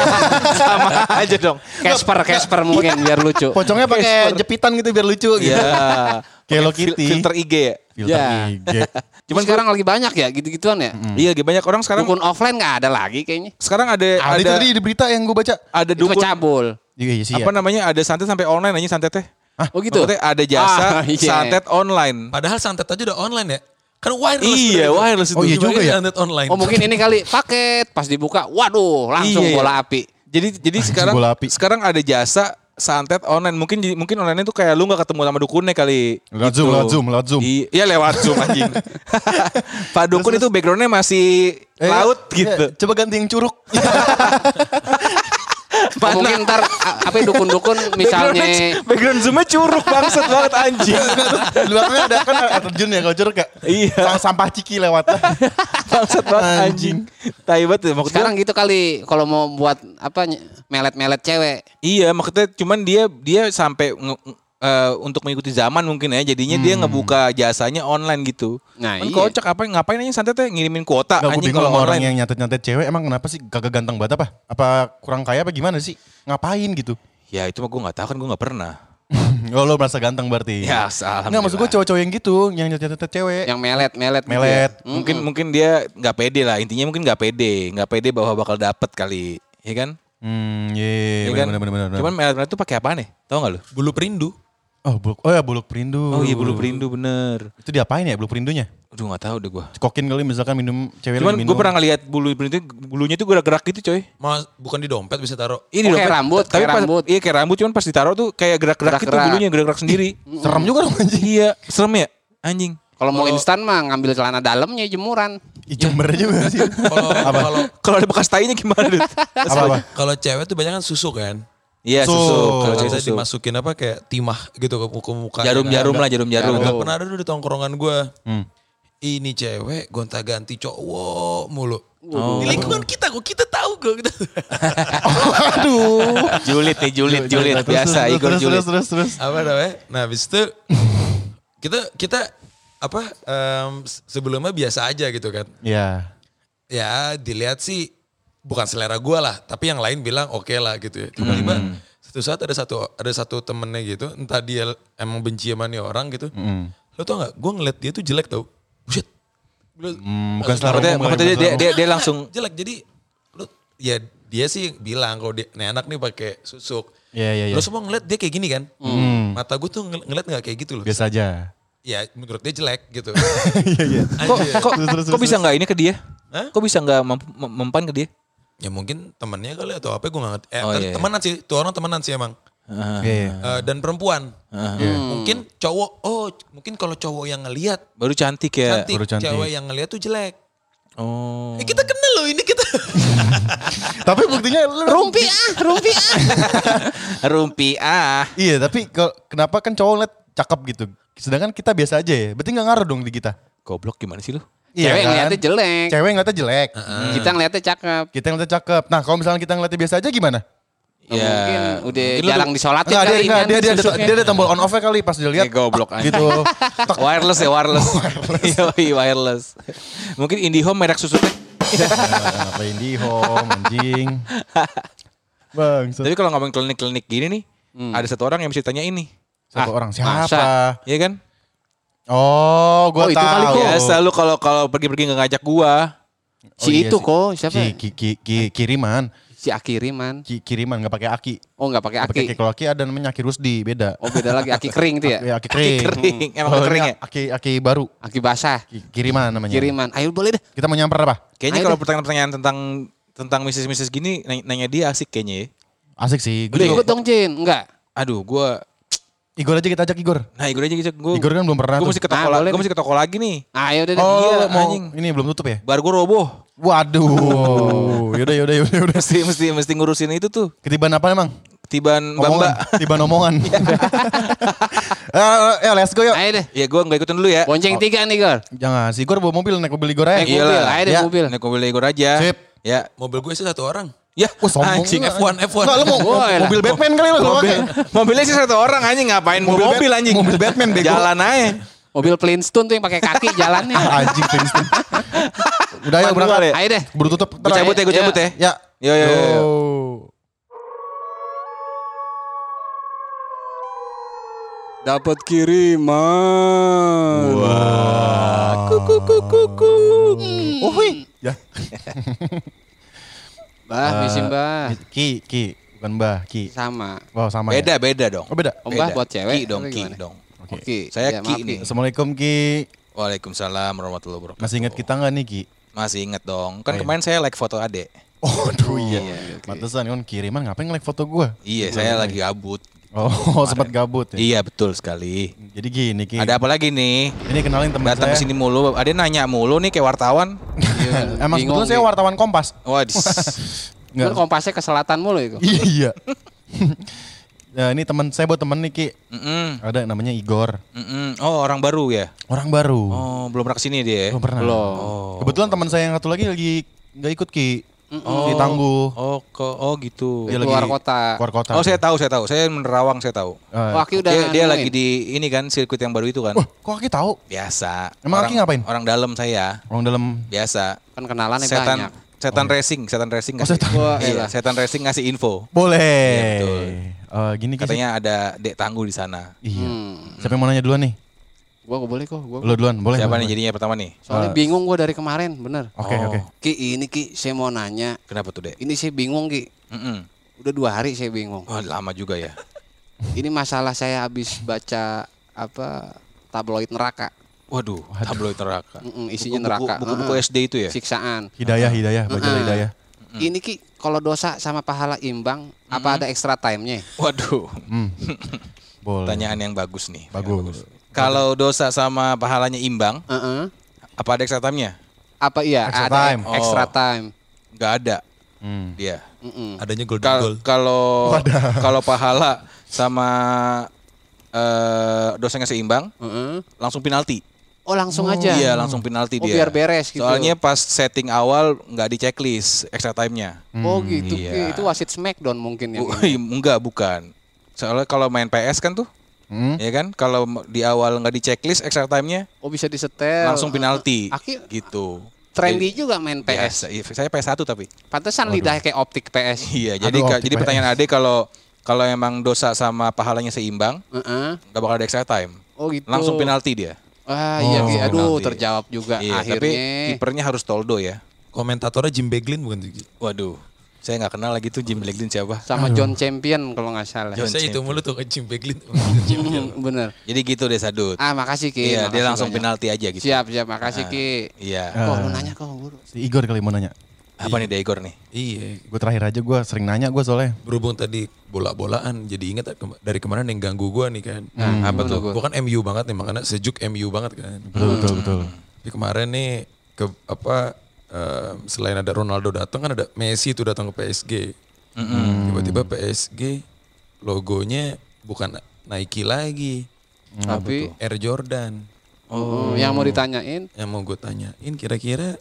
Speaker 3: sama aja dong.
Speaker 2: Casper, Casper mungkin biar lucu.
Speaker 1: pocongnya pakai jepitan gitu biar lucu gitu Iya,
Speaker 3: Ya.
Speaker 1: Hello
Speaker 3: Pakai fil-
Speaker 1: Kitty.
Speaker 3: Filter IG ya.
Speaker 1: filter
Speaker 2: Ya.
Speaker 1: IG
Speaker 2: Cuman
Speaker 3: Cuman
Speaker 2: sekarang lagi banyak ya gitu-gituan ya.
Speaker 3: Iya, lagi banyak orang sekarang
Speaker 2: Dukun offline nggak ada lagi kayaknya.
Speaker 3: sekarang ada
Speaker 1: ada Ah, itu
Speaker 3: ada
Speaker 1: tadi di berita yang gue baca
Speaker 3: ada
Speaker 2: Itu mah
Speaker 3: dukun
Speaker 2: cabul.
Speaker 1: iya iya sih ya.
Speaker 3: apa namanya? Ada santet sampai online anjing santet teh.
Speaker 2: Oh gitu.
Speaker 3: Ah, Maksudnya ada jasa
Speaker 2: Ah, iya.
Speaker 3: santet online.
Speaker 4: Padahal santet aja udah online ya. Kan wireless.
Speaker 3: Iya,
Speaker 4: sebenarnya.
Speaker 3: wireless itu.
Speaker 1: Oh, iya juga
Speaker 4: Bayangin
Speaker 1: ya.
Speaker 4: Santet online.
Speaker 2: Oh mungkin ini kali paket pas dibuka, waduh langsung
Speaker 3: Iya, iya.
Speaker 2: bola api.
Speaker 3: Jadi jadi sekarang
Speaker 1: bola api.
Speaker 3: sekarang ada jasa santet online. Mungkin jadi- mungkin online itu kayak lu nggak ketemu sama dukunnya kali.
Speaker 1: Lewat
Speaker 3: Gitu.
Speaker 1: Zoom, lewat Zoom, lewat Zoom.
Speaker 3: I- Iya lewat Zoom anjing. Pak dukun itu backgroundnya masih
Speaker 1: Eh,
Speaker 3: laut
Speaker 1: iya,
Speaker 3: gitu.
Speaker 1: coba ganti yang curug
Speaker 2: Oh, mungkin ntar a- apa ya, dukun-dukun misalnya
Speaker 3: Backgroundnya- background Zoomnya curug bangsat banget anjing.
Speaker 1: di belakangnya ada kan air terjun ya kalau curug ya
Speaker 3: Iya.
Speaker 1: Sang- sampah ciki lewat
Speaker 3: bangsat banget anjing. Tai banget ya, maksudnya.
Speaker 2: sekarang gitu kali kalau mau buat apa ny- melet-melet cewek.
Speaker 3: Iya, maksudnya cuman dia dia sampai nge- nge- eh, untuk mengikuti zaman mungkin ya jadinya
Speaker 1: Hmm.
Speaker 3: dia ngebuka jasanya online gitu.
Speaker 2: Nah,
Speaker 3: Kan
Speaker 2: iya.
Speaker 3: kocak apa ngapain aja santet teh ngirimin kuota
Speaker 1: Nggak, gue
Speaker 3: anjing
Speaker 1: bingung
Speaker 3: kalau
Speaker 1: sama orang
Speaker 3: online.
Speaker 1: yang nyatet-nyatet cewek emang kenapa sih kagak ganteng banget apa? Apa kurang kaya apa gimana sih? Ngapain gitu?
Speaker 3: Ya itu mah gue nggak tahu kan gue nggak pernah.
Speaker 1: oh lo merasa ganteng berarti?
Speaker 3: Ya, alhamdulillah.
Speaker 1: Nggak maksud gue cowok-cowok yang gitu, yang nyatet-nyatet cewek.
Speaker 2: Yang melet-melet gitu
Speaker 1: Melet.
Speaker 2: ya.
Speaker 3: Mungkin mungkin dia nggak pede lah intinya mungkin nggak pede nggak pede bahwa bakal dapet kali, ya kan?
Speaker 1: Hmm, iya,
Speaker 3: Ya
Speaker 1: bener
Speaker 3: kan?
Speaker 1: bener bener bener.
Speaker 3: Cuman melet-melet tuh pakai apa nih? Tahu nggak lu?
Speaker 4: Bulu perindu.
Speaker 1: Oh, buluk, oh ya buluk perindu.
Speaker 3: Oh iya bulu perindu bener.
Speaker 1: Itu diapain ya buluk perindunya?
Speaker 3: Aduh nggak tahu deh gue.
Speaker 1: Cekokin kali misalkan minum cewek
Speaker 3: Cuman
Speaker 1: lagi minum.
Speaker 3: gue pernah ngeliat bulu perindu bulunya tuh gerak-gerak gitu coy.
Speaker 4: Mas, bukan di dompet bisa taruh.
Speaker 2: Oh,
Speaker 3: dong,
Speaker 2: kayak
Speaker 3: Pak.
Speaker 2: rambut,
Speaker 3: tapi
Speaker 2: kayak
Speaker 3: pas,
Speaker 2: rambut.
Speaker 3: Iya kayak rambut, cuman pas ditaruh tuh kayak gerak-gerak gitu
Speaker 2: Gerak-gerak.
Speaker 3: bulunya gerak-gerak sendiri.
Speaker 1: Serem juga dong anjing.
Speaker 3: iya, serem ya anjing.
Speaker 2: Kalau mau instan mah ngambil celana dalamnya jemuran.
Speaker 1: Ih, Jember juga sih.
Speaker 4: Kalau kalau
Speaker 3: Kalau ada bekas tainya gimana? Dut?
Speaker 1: Apa apa?
Speaker 4: kalau cewek tuh banyak kan susu kan.
Speaker 3: Iya
Speaker 1: Susu.
Speaker 3: susu.
Speaker 1: Kalau
Speaker 4: Kalau
Speaker 3: Kalau
Speaker 4: cerita
Speaker 3: susu.
Speaker 4: dimasukin apa kayak timah gitu ke muka muka.
Speaker 3: Jarum-jarum
Speaker 1: kan?
Speaker 3: lah, jarum-jarum.
Speaker 4: Gak pernah ada dulu di tongkrongan gue.
Speaker 1: Hmm.
Speaker 4: Ini cewek gonta-ganti cowok mulu. Di lingkungan kita kok kita tahu kok kita.
Speaker 1: Aduh.
Speaker 3: Julid nih, julid, julid.
Speaker 1: Iya, Terus,
Speaker 3: Biasa,
Speaker 1: terus,
Speaker 3: Igor
Speaker 1: terus,
Speaker 3: julid.
Speaker 1: Terus, terus, terus.
Speaker 4: apa namanya? Nah, habis itu kita kita apa em, se- sebelumnya biasa aja gitu kan.
Speaker 1: Iya.
Speaker 4: Ya, dilihat sih bukan selera gua lah, tapi yang lain bilang oke lah gitu ya. Tiba-tiba
Speaker 1: Hmm.
Speaker 4: satu saat ada satu ada satu temennya gitu, entah dia emang benci sama nih orang gitu.
Speaker 1: Mm.
Speaker 4: Lo tau gak, gue ngeliat dia tuh jelek tau. Buset. Lo-
Speaker 1: Hmm, bukan selera
Speaker 3: Maksudnya,
Speaker 1: umum,
Speaker 3: maksudnya
Speaker 1: bukan
Speaker 3: dia,
Speaker 1: selera
Speaker 3: dia,
Speaker 4: Enggak,
Speaker 3: dia
Speaker 4: enggak,
Speaker 3: langsung
Speaker 4: jelek. Jadi lu ya dia sih bilang kalau dia nih anak nih pakai susuk.
Speaker 1: Iya, iya, Hmm. iya.
Speaker 4: Lo semua ngeliat dia kayak gini kan? Mata gue tuh ngel- ngeliat nggak kayak gitu
Speaker 1: umum.
Speaker 4: loh.
Speaker 1: Biasa aja.
Speaker 4: Ya menurut dia jelek gitu.
Speaker 1: Iya, iya.
Speaker 3: kok kok,
Speaker 1: Terus, terus,
Speaker 3: kok
Speaker 1: terus,
Speaker 3: bisa nggak ini ke dia?
Speaker 4: Hah?
Speaker 3: Kok bisa nggak mem- mem- mempan ke dia?
Speaker 4: ya mungkin temennya kali atau apa gue nggak ngerti. Eh,
Speaker 3: Oh,
Speaker 4: tapi
Speaker 3: iya.
Speaker 4: Temenan sih, tuh orang temenan sih emang.
Speaker 1: Iya, iya.
Speaker 4: Eh, dan perempuan.
Speaker 1: Iya.
Speaker 4: Mungkin cowok, oh mungkin kalau cowok yang ngeliat
Speaker 3: Baru cantik ya.
Speaker 4: Iya, cantik,
Speaker 1: baru cantik.
Speaker 4: cewek yang ngeliat tuh jelek.
Speaker 3: Oh.
Speaker 4: Eh, kita kenal loh ini kita.
Speaker 3: Ah.
Speaker 1: Tapi buktinya lu
Speaker 2: Rumpi ah, rumpi ah.
Speaker 3: Rumpi ah.
Speaker 1: Iya, tapi ke- kenapa kan cowok ngeliat cakep gitu. Sedangkan kita biasa aja ya. Berarti gak ngaruh dong di kita.
Speaker 3: Goblok gimana sih lu?
Speaker 2: Cewek
Speaker 1: kan?
Speaker 2: ngeliatnya jelek. Hmm.
Speaker 1: Cewek ngeliatnya jelek.
Speaker 2: Kita ngeliatnya cakep.
Speaker 1: Kita ngeliatnya cakep. Nah kalau misalnya kita ngeliatnya biasa aja gimana? Iya.
Speaker 3: Ya,
Speaker 2: Mungkin udah
Speaker 3: mungkin lu
Speaker 2: jarang
Speaker 3: tuh-
Speaker 2: disolatin
Speaker 1: Enggak, dia,
Speaker 2: kali
Speaker 1: enggak,
Speaker 2: kan,
Speaker 1: dia, dia, ada,
Speaker 2: susuknya.
Speaker 1: dia ada tombol on off-nya kali pas dilihat.
Speaker 3: Eh, goblok aja.
Speaker 1: Gitu.
Speaker 3: wireless ya wireless. Yoi wireless. Mungkin IndiHome merek susutnya.
Speaker 1: Kenapa Eh, di home anjing. Bang,
Speaker 3: Tapi kalau ngomongin klinik-klinik gini nih, ada satu orang yang mesti tanya ini.
Speaker 1: Satu orang, siapa?
Speaker 3: Ah, Iya kan?
Speaker 1: Oh, gue
Speaker 2: Oh, itu
Speaker 1: tahu.
Speaker 2: kali, Ko.
Speaker 3: Biasa lu kalau kalau pergi-pergi nggak ngajak gua.
Speaker 2: Si
Speaker 1: iya
Speaker 2: itu
Speaker 1: sih.
Speaker 2: kok, siapa?
Speaker 1: Ki, ki, ki, ki- kiriman.
Speaker 2: Si Aki Riman.
Speaker 1: Ki, kiriman nggak pakai aki.
Speaker 2: Oh nggak pakai
Speaker 1: Nggak
Speaker 2: Aki.
Speaker 1: Pakai ki- kalau aki ada namanya aki rusdi, beda.
Speaker 2: Oh beda lagi Aki kering tuh ya.
Speaker 1: Ya, aki kering. Oh, iya.
Speaker 3: kering. Emang
Speaker 1: Kalau
Speaker 3: kering
Speaker 1: ini
Speaker 3: ya?
Speaker 1: Aki aki baru.
Speaker 2: Aki basah.
Speaker 1: Ki- kiriman namanya.
Speaker 3: Iya.
Speaker 2: Kiriman. Ayo boleh deh.
Speaker 1: Kita mau nyamper apa?
Speaker 2: Ayo
Speaker 3: Kayaknya kalau
Speaker 2: deh.
Speaker 3: pertanyaan-pertanyaan tentang tentang misis-misis gini nanya, nanya dia asik kayaknya ya.
Speaker 1: Asik sih.
Speaker 2: Udah
Speaker 1: Gua-
Speaker 2: ikut dong Jin. Enggak.
Speaker 3: Aduh, gua
Speaker 1: Igor aja kita ajak Igor.
Speaker 3: nah Igor aja gitu. Gua,
Speaker 1: Igor kan belum pernah.
Speaker 3: gua
Speaker 1: tuh.
Speaker 3: mesti ke toko,
Speaker 2: Ah,
Speaker 3: la-
Speaker 2: boleh
Speaker 3: gua
Speaker 2: deh.
Speaker 3: mesti ke toko lagi nih.
Speaker 2: Nah, Ayo deh. deh.
Speaker 1: Oh,
Speaker 3: Iya,
Speaker 1: lu mau
Speaker 3: anjing.
Speaker 1: ini belum tutup ya?
Speaker 3: Bar gua roboh.
Speaker 1: Waduh. Yaudah, yaudah, yaudah, yaudah.
Speaker 3: Mesti mesti mesti ngurusin itu tuh.
Speaker 1: Ketibaan apa emang?
Speaker 3: Ketiban
Speaker 1: Omongan.
Speaker 3: Bamba.
Speaker 1: Ketibaan omongan. Eh, eh, let's go yuk.
Speaker 2: Iya. Ayo deh.
Speaker 3: Ya gua nggak ikutin dulu ya.
Speaker 2: Bonceng tiga nih Gor.
Speaker 1: Jangan, si Igor bawa mobil, naik mobil Igor aja.
Speaker 2: Naik mobil, ayo deh
Speaker 1: Ya.
Speaker 2: mobil.
Speaker 3: Naik mobil Igor aja.
Speaker 1: Sip.
Speaker 3: Ya.
Speaker 4: Mobil gue sih satu orang.
Speaker 3: Ya,
Speaker 1: Wah, sombong.
Speaker 3: anjing
Speaker 1: lu,
Speaker 3: F1.
Speaker 1: anjing. Nggak, lu mau
Speaker 2: Wah, elah.
Speaker 1: mobil Batman kali lu. lu pakai.
Speaker 3: Mobilnya sih satu orang anjing ngapain
Speaker 1: Mobil
Speaker 3: mobil,
Speaker 1: Bat-
Speaker 3: mobil anjing.
Speaker 1: mobil Batman, bego.
Speaker 3: Jalan aja.
Speaker 2: Mobil Flintstone tuh yang pakai kaki jalannya.
Speaker 1: Ah, Anjing, Princeton. Udah ya,
Speaker 3: Manual
Speaker 1: berangkat.
Speaker 3: ya?
Speaker 2: Ayo deh.
Speaker 1: Buru tutup.
Speaker 3: Gue cabut ya, gue
Speaker 2: Iya.
Speaker 3: cabut ya.
Speaker 1: Ya.
Speaker 3: Yo yo yo. yo.
Speaker 1: Yo.
Speaker 2: Dapat kiriman.
Speaker 1: Wah.
Speaker 2: Kuku kuku kuku. Hmm.
Speaker 1: Ya.
Speaker 2: Bah, misi Mbah.
Speaker 1: Ki, Ki, bukan Mbah, Ki.
Speaker 2: Sama.
Speaker 1: Wow, sama ya?
Speaker 3: Beda beda dong.
Speaker 1: Oh, beda.
Speaker 2: Om Bah
Speaker 3: Beda.
Speaker 2: buat cewek.
Speaker 3: Ki dong,
Speaker 2: apa
Speaker 3: ki
Speaker 2: gimana?
Speaker 3: dong.
Speaker 1: Oke.
Speaker 2: Oke. Ya,
Speaker 3: Saya ki
Speaker 2: maaf
Speaker 3: nih.
Speaker 1: Assalamualaikum Ki.
Speaker 3: Waalaikumsalam warahmatullahi wabarakatuh.
Speaker 1: Masih ingat kita nggak nih Ki?
Speaker 3: Masih inget
Speaker 1: iya.
Speaker 3: dong. Kan kemarin saya like foto Ade.
Speaker 1: Oh, aduh iya.
Speaker 2: iya, oke.
Speaker 1: Pantesan kan kiriman ngapain nge-like foto gua?
Speaker 3: Iya, saya lagi gabut.
Speaker 1: Oh, sempat gabut ya.
Speaker 3: Iya, betul sekali.
Speaker 1: Jadi gini Ki.
Speaker 3: Ada apa lagi nih?
Speaker 1: Ini kenalin teman
Speaker 3: Datang
Speaker 1: Iya. saya.
Speaker 3: ke sini Iya, mulu. Ade nanya mulu nih kayak wartawan.
Speaker 1: Emang
Speaker 2: Bingung,
Speaker 1: sebetulnya saya
Speaker 2: Ki.
Speaker 1: wartawan Kompas.
Speaker 3: Waduh.
Speaker 2: Kan kompasnya ke selatan mulu itu.
Speaker 1: Iya. Nah, ini teman saya buat temen nih Ki.
Speaker 3: Mm-mm.
Speaker 1: Ada namanya Igor.
Speaker 3: Mm-mm. Oh, orang baru ya?
Speaker 1: Orang baru.
Speaker 3: Oh, belum pernah kesini dia. ya?
Speaker 1: Belum pernah.
Speaker 3: Belum.
Speaker 1: Kebetulan teman saya yang satu lagi lagi nggak ikut Ki. Di Tangguh.
Speaker 3: Oh, ko- oh gitu.
Speaker 1: Dia
Speaker 2: Keluar
Speaker 1: lagi
Speaker 2: kota.
Speaker 1: Keluar kota.
Speaker 3: Oh, saya tahu, saya tahu. Saya menerawang, saya tahu.
Speaker 1: Eh,
Speaker 2: Wah, Aki udah
Speaker 3: dia, dia
Speaker 2: nemuin.
Speaker 3: lagi di ini kan sirkuit yang baru itu kan.
Speaker 1: Wah, kok Aki tahu?
Speaker 3: Biasa.
Speaker 1: Emang
Speaker 3: orang,
Speaker 1: Aki ngapain?
Speaker 3: Orang dalam saya.
Speaker 1: Orang dalam
Speaker 3: Biasa.
Speaker 2: kan kenalan yang
Speaker 3: setan
Speaker 2: banyak.
Speaker 3: setan racing, setan racing
Speaker 1: iya. Oh, setan.
Speaker 2: Wah,
Speaker 3: iya,
Speaker 2: elah.
Speaker 3: setan racing ngasih info.
Speaker 1: boleh.
Speaker 3: Iya, betul.
Speaker 1: Eh, gini Ki.
Speaker 3: Katanya ada Dek Tangguh di sana.
Speaker 1: Iya.
Speaker 2: Hmm.
Speaker 1: Siapa yang mau nanya duluan nih?
Speaker 2: Gua gak boleh kok, gua.
Speaker 1: Lo duluan, boleh.
Speaker 3: Siapa
Speaker 1: boleh, boleh.
Speaker 3: nih jadinya pertama nih?
Speaker 2: Soalnya bingung gua dari kemarin, bener.
Speaker 1: Oke,
Speaker 3: Oh.
Speaker 1: oke.
Speaker 2: Ki ini Ki, saya mau nanya.
Speaker 3: Kenapa tuh, Dek?
Speaker 2: Ini saya bingung Ki.
Speaker 3: Mm-mm.
Speaker 2: Udah dua hari saya bingung.
Speaker 3: Wah, lama juga ya.
Speaker 2: Ini masalah saya habis baca apa tabloid neraka.
Speaker 3: Waduh, tabloid neraka.
Speaker 2: Mm-mm, isinya
Speaker 3: Buku- buku-
Speaker 2: neraka.
Speaker 3: Buku-buku
Speaker 2: Heeh.
Speaker 3: SD itu ya?
Speaker 2: Siksaan.
Speaker 1: Hidayah, hidayah, baca
Speaker 2: Heeh.
Speaker 1: hidayah.
Speaker 2: Ini Ki, kalau dosa sama pahala imbang, apa ada extra time-nya?
Speaker 3: Waduh,
Speaker 1: Hmm. Boleh.
Speaker 3: pertanyaan yang bagus nih.
Speaker 1: Bagus.
Speaker 3: Kalau dosa sama pahalanya imbang,
Speaker 2: Heeh.
Speaker 3: apa ada eksatamnya?
Speaker 2: Apa iya
Speaker 1: Extra
Speaker 2: ada
Speaker 1: time.
Speaker 2: extra
Speaker 3: Oh.
Speaker 2: time?
Speaker 3: Nggak ada
Speaker 1: Hmm.
Speaker 3: dia.
Speaker 4: adanya golden
Speaker 3: Kal-
Speaker 4: goal.
Speaker 3: Kalau kalau pahala sama eh dosanya seimbang,
Speaker 2: Heeh.
Speaker 3: langsung penalti.
Speaker 2: Oh langsung aja.
Speaker 3: Iya, langsung penalti
Speaker 2: Oh,
Speaker 3: dia.
Speaker 2: biar beres gitu.
Speaker 3: Soalnya pas setting awal nggak di checklist extra time-nya.
Speaker 2: Oh gitu.
Speaker 3: Iya. Oh,
Speaker 2: Ki. Itu wasit Smackdown mungkin ya.
Speaker 3: Bu- enggak, bukan. Soalnya kalau main PS kan tuh,
Speaker 1: Hmm.
Speaker 3: ya kan? Kalau m- di awal nggak di checklist extra time-nya,
Speaker 2: Oh bisa disetel.
Speaker 3: langsung penalti. iya.
Speaker 2: Aki
Speaker 3: gitu.
Speaker 2: trendy juga main PS.
Speaker 3: PS. saya PS1 tapi.
Speaker 2: Pantesan lidah kayak optik PS.
Speaker 3: Iya,
Speaker 1: Aduh,
Speaker 3: jadi ka-
Speaker 1: optik
Speaker 3: jadi
Speaker 1: PS.
Speaker 3: pertanyaan Ade kalau kalau emang dosa sama pahalanya seimbang,
Speaker 2: Heeh.
Speaker 3: nggak bakal ada extra time.
Speaker 2: Oh gitu.
Speaker 3: Langsung penalti dia.
Speaker 2: Ah iya,
Speaker 1: Oh.
Speaker 2: Ki. aduh
Speaker 3: Penalti.
Speaker 2: terjawab juga
Speaker 3: Iya, tapi
Speaker 2: akhirnya.
Speaker 3: kipernya harus Toldo ya.
Speaker 4: Komentatornya Jim Beglin bukan tuh. Gi?
Speaker 3: Waduh, saya nggak kenal lagi tuh Jim Blackdin siapa.
Speaker 2: sama John Champion kalau nggak salah.
Speaker 3: John
Speaker 4: Saya itu
Speaker 3: Champion.
Speaker 4: mulu tuh Jim Beglin.
Speaker 2: Hmm, Bener.
Speaker 3: Jadi gitu deh Sadut.
Speaker 2: Ah makasih Ki.
Speaker 3: Iya, dia
Speaker 2: Makasih
Speaker 3: langsung
Speaker 2: banyak.
Speaker 3: penalti aja gitu.
Speaker 2: Siap siap makasih Ki.
Speaker 3: Iya.
Speaker 2: Kok lu nanya kok guru.
Speaker 1: Si Igor kali mau nanya.
Speaker 3: Apa nih Daigor nih?
Speaker 4: iya,
Speaker 1: Gue terakhir aja gue sering nanya gue soalnya.
Speaker 4: berhubung tadi bola-bolaan jadi ingat kema- dari kemarin yang ganggu gua nih kan. apa tuh? Gua kan MU banget nih makanya sejuk MU banget kan.
Speaker 1: Betul betul
Speaker 3: Mm.
Speaker 1: betul.
Speaker 4: Tapi kemarin nih ke apa eh, selain ada Ronaldo datang kan ada Messi itu datang ke PSG. Tiba-tiba PSG logonya bukan Nike lagi,
Speaker 2: Tapi
Speaker 4: Air Jordan.
Speaker 2: oh, yang mau ditanyain
Speaker 4: Yang mau gue tanyain kira-kira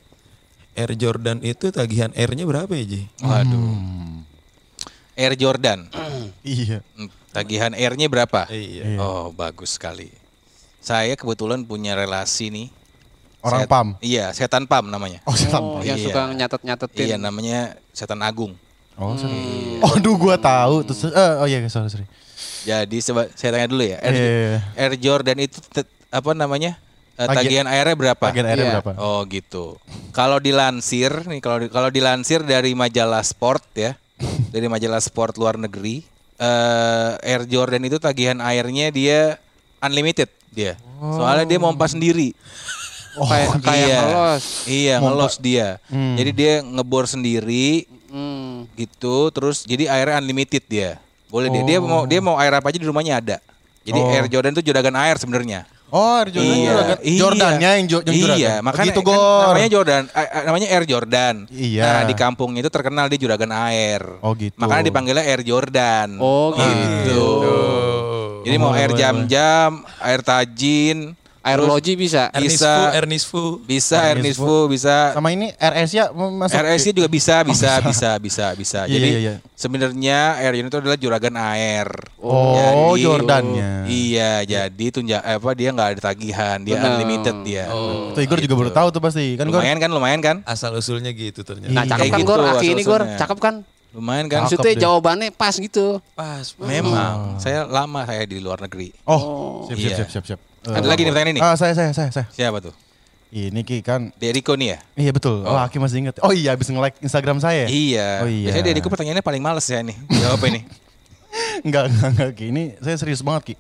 Speaker 4: Air Jordan itu tagihan airnya berapa ya Ji?
Speaker 3: Waduh. Air Jordan.
Speaker 1: Iya.
Speaker 3: Hmm, Tagihan airnya berapa?
Speaker 4: Iya.
Speaker 3: Oh, bagus sekali. Saya kebetulan punya relasi nih.
Speaker 1: Orang
Speaker 3: Set-
Speaker 1: pam.
Speaker 3: Iya, setan pam namanya.
Speaker 1: Oh setan.
Speaker 2: oh,
Speaker 1: Pak.
Speaker 2: yang
Speaker 3: Iya.
Speaker 2: suka nyatet-nyatetin.
Speaker 3: Iya, namanya setan agung.
Speaker 1: Oh setan.
Speaker 3: Iya.
Speaker 1: Aduh gue tahu. Terus eh, oh iya sorry sorry.
Speaker 3: Jadi coba saya tanya dulu ya. Air,
Speaker 1: Iya, iya, iya.
Speaker 3: Air Jordan itu te- apa namanya? Eh,
Speaker 1: Tagi-
Speaker 3: tagihan airnya berapa?
Speaker 1: Bagian airnya
Speaker 2: Iya.
Speaker 1: berapa?
Speaker 3: Oh gitu. Kalau dilansir nih kalau di- kalau dilansir dari majalah Sport ya, dari majalah Sport luar negeri, eh Air Jordan itu tagihan airnya dia unlimited dia. Soalnya dia mompa sendiri.
Speaker 2: Kayak kayak
Speaker 3: iya.
Speaker 2: ngelos.
Speaker 3: Iya, ngelos dia. Jadi dia ngebor sendiri
Speaker 2: Hmm.
Speaker 3: gitu terus jadi airnya unlimited dia. Boleh dia dia mau dia mau air apa aja di rumahnya ada. Jadi Air Jordan itu juragan air sebenarnya.
Speaker 1: Oh Air Jordan. Jordan.
Speaker 3: iya.
Speaker 1: Jordannya yang, jo- yang
Speaker 3: iya,
Speaker 1: Jordan.
Speaker 3: makanya
Speaker 1: Begitu
Speaker 3: kan
Speaker 1: gor.
Speaker 3: namanya Jordan, eh, eh, namanya Air Jordan.
Speaker 1: Iya.
Speaker 3: Nah, di kampungnya itu terkenal dia juragan air.
Speaker 1: Oh, gitu.
Speaker 3: Makanya dipanggilnya Air Jordan.
Speaker 2: Oh, gitu.
Speaker 3: Jadi mau air jam-jam, air tajin,
Speaker 2: Air logi bisa.
Speaker 4: Ernisfu,
Speaker 3: Bisa-
Speaker 4: Ernisfu.
Speaker 3: bisa air nisfu, bisa
Speaker 1: Sama ini RS ya masuk.
Speaker 3: RSI juga bisa, bisa, bisa, bisa, bisa.
Speaker 1: Iya,
Speaker 3: Jadi
Speaker 1: iya, iya.
Speaker 3: sebenarnya Air Jordan itu adalah juragan air.
Speaker 1: Oh, Jordannya.
Speaker 3: Iya, jadi tunja eh, apa dia nggak ada tagihan, dia unlimited dia.
Speaker 2: Oh.
Speaker 1: Itu Igor Oh, juga
Speaker 3: gitu.
Speaker 1: baru tahu tuh pasti. Kan gue
Speaker 3: Lumayan kan, lumayan kan?
Speaker 4: Asal usulnya gitu ternyata.
Speaker 2: Nah, cakep
Speaker 3: Kayak
Speaker 2: kan
Speaker 3: gitu
Speaker 2: Gor, aki ini Gor,
Speaker 3: asal-usulnya.
Speaker 2: cakep kan?
Speaker 3: Lumayan kan?
Speaker 2: Maksudnya jawabannya pas gitu.
Speaker 4: Pas.
Speaker 3: Memang, Hmm. saya lama saya di luar negeri.
Speaker 1: Oh, siap siap
Speaker 3: Iya.
Speaker 1: siap siap siap.
Speaker 3: Ada lagi nih pertanyaan ini.
Speaker 1: Ah, saya saya saya saya.
Speaker 3: Siapa tuh?
Speaker 1: Ini Ki kan.
Speaker 3: Deriko nih ya?
Speaker 1: Iya betul. Oh, Aki masih ingat. Oh iya habis nge-like Instagram saya. Oh
Speaker 3: Iya.
Speaker 1: iya.
Speaker 3: Biasanya Deriko pertanyaannya paling males ya nih. Jawab ini.
Speaker 1: Enggak, enggak, enggak Ki. Ini saya serius banget Ki.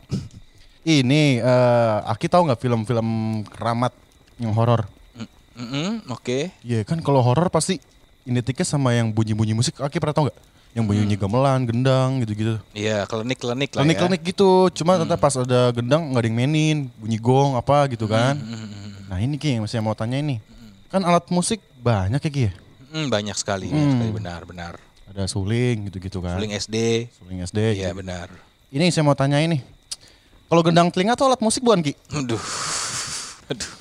Speaker 1: Ini eh Aki tahu nggak film-film keramat yang horor?
Speaker 3: Mm-mm, Mm, Oke.
Speaker 1: Iya kan kalau horor pasti identiknya sama yang bunyi-bunyi musik. Aki pernah tahu nggak? Yang
Speaker 3: Hmm.
Speaker 1: bunyi-bunyi gamelan, gendang gitu-gitu.
Speaker 3: Iya, klinik-klinik Hmm. lah ya.
Speaker 1: Klinik-klinik gitu. Cuma tetap pas ada gendang nggak ada yang mainin, bunyi gong apa
Speaker 3: Hmm,
Speaker 1: gitu kan. Nah ini Ki yang saya mau tanya ini. Kan alat musik banyak ya Ki ya?
Speaker 3: Mm, banyak sekali,
Speaker 1: Hmm.
Speaker 3: banyak sekali benar-benar.
Speaker 1: Ada suling gitu-gitu kan.
Speaker 3: Suling SD.
Speaker 1: Suling SD.
Speaker 3: Iya
Speaker 1: gitu.
Speaker 3: benar.
Speaker 1: Ini yang saya mau tanya ini. Kalau gendang telinga tuh alat musik bukan Ki?
Speaker 3: Aduh. Aduh.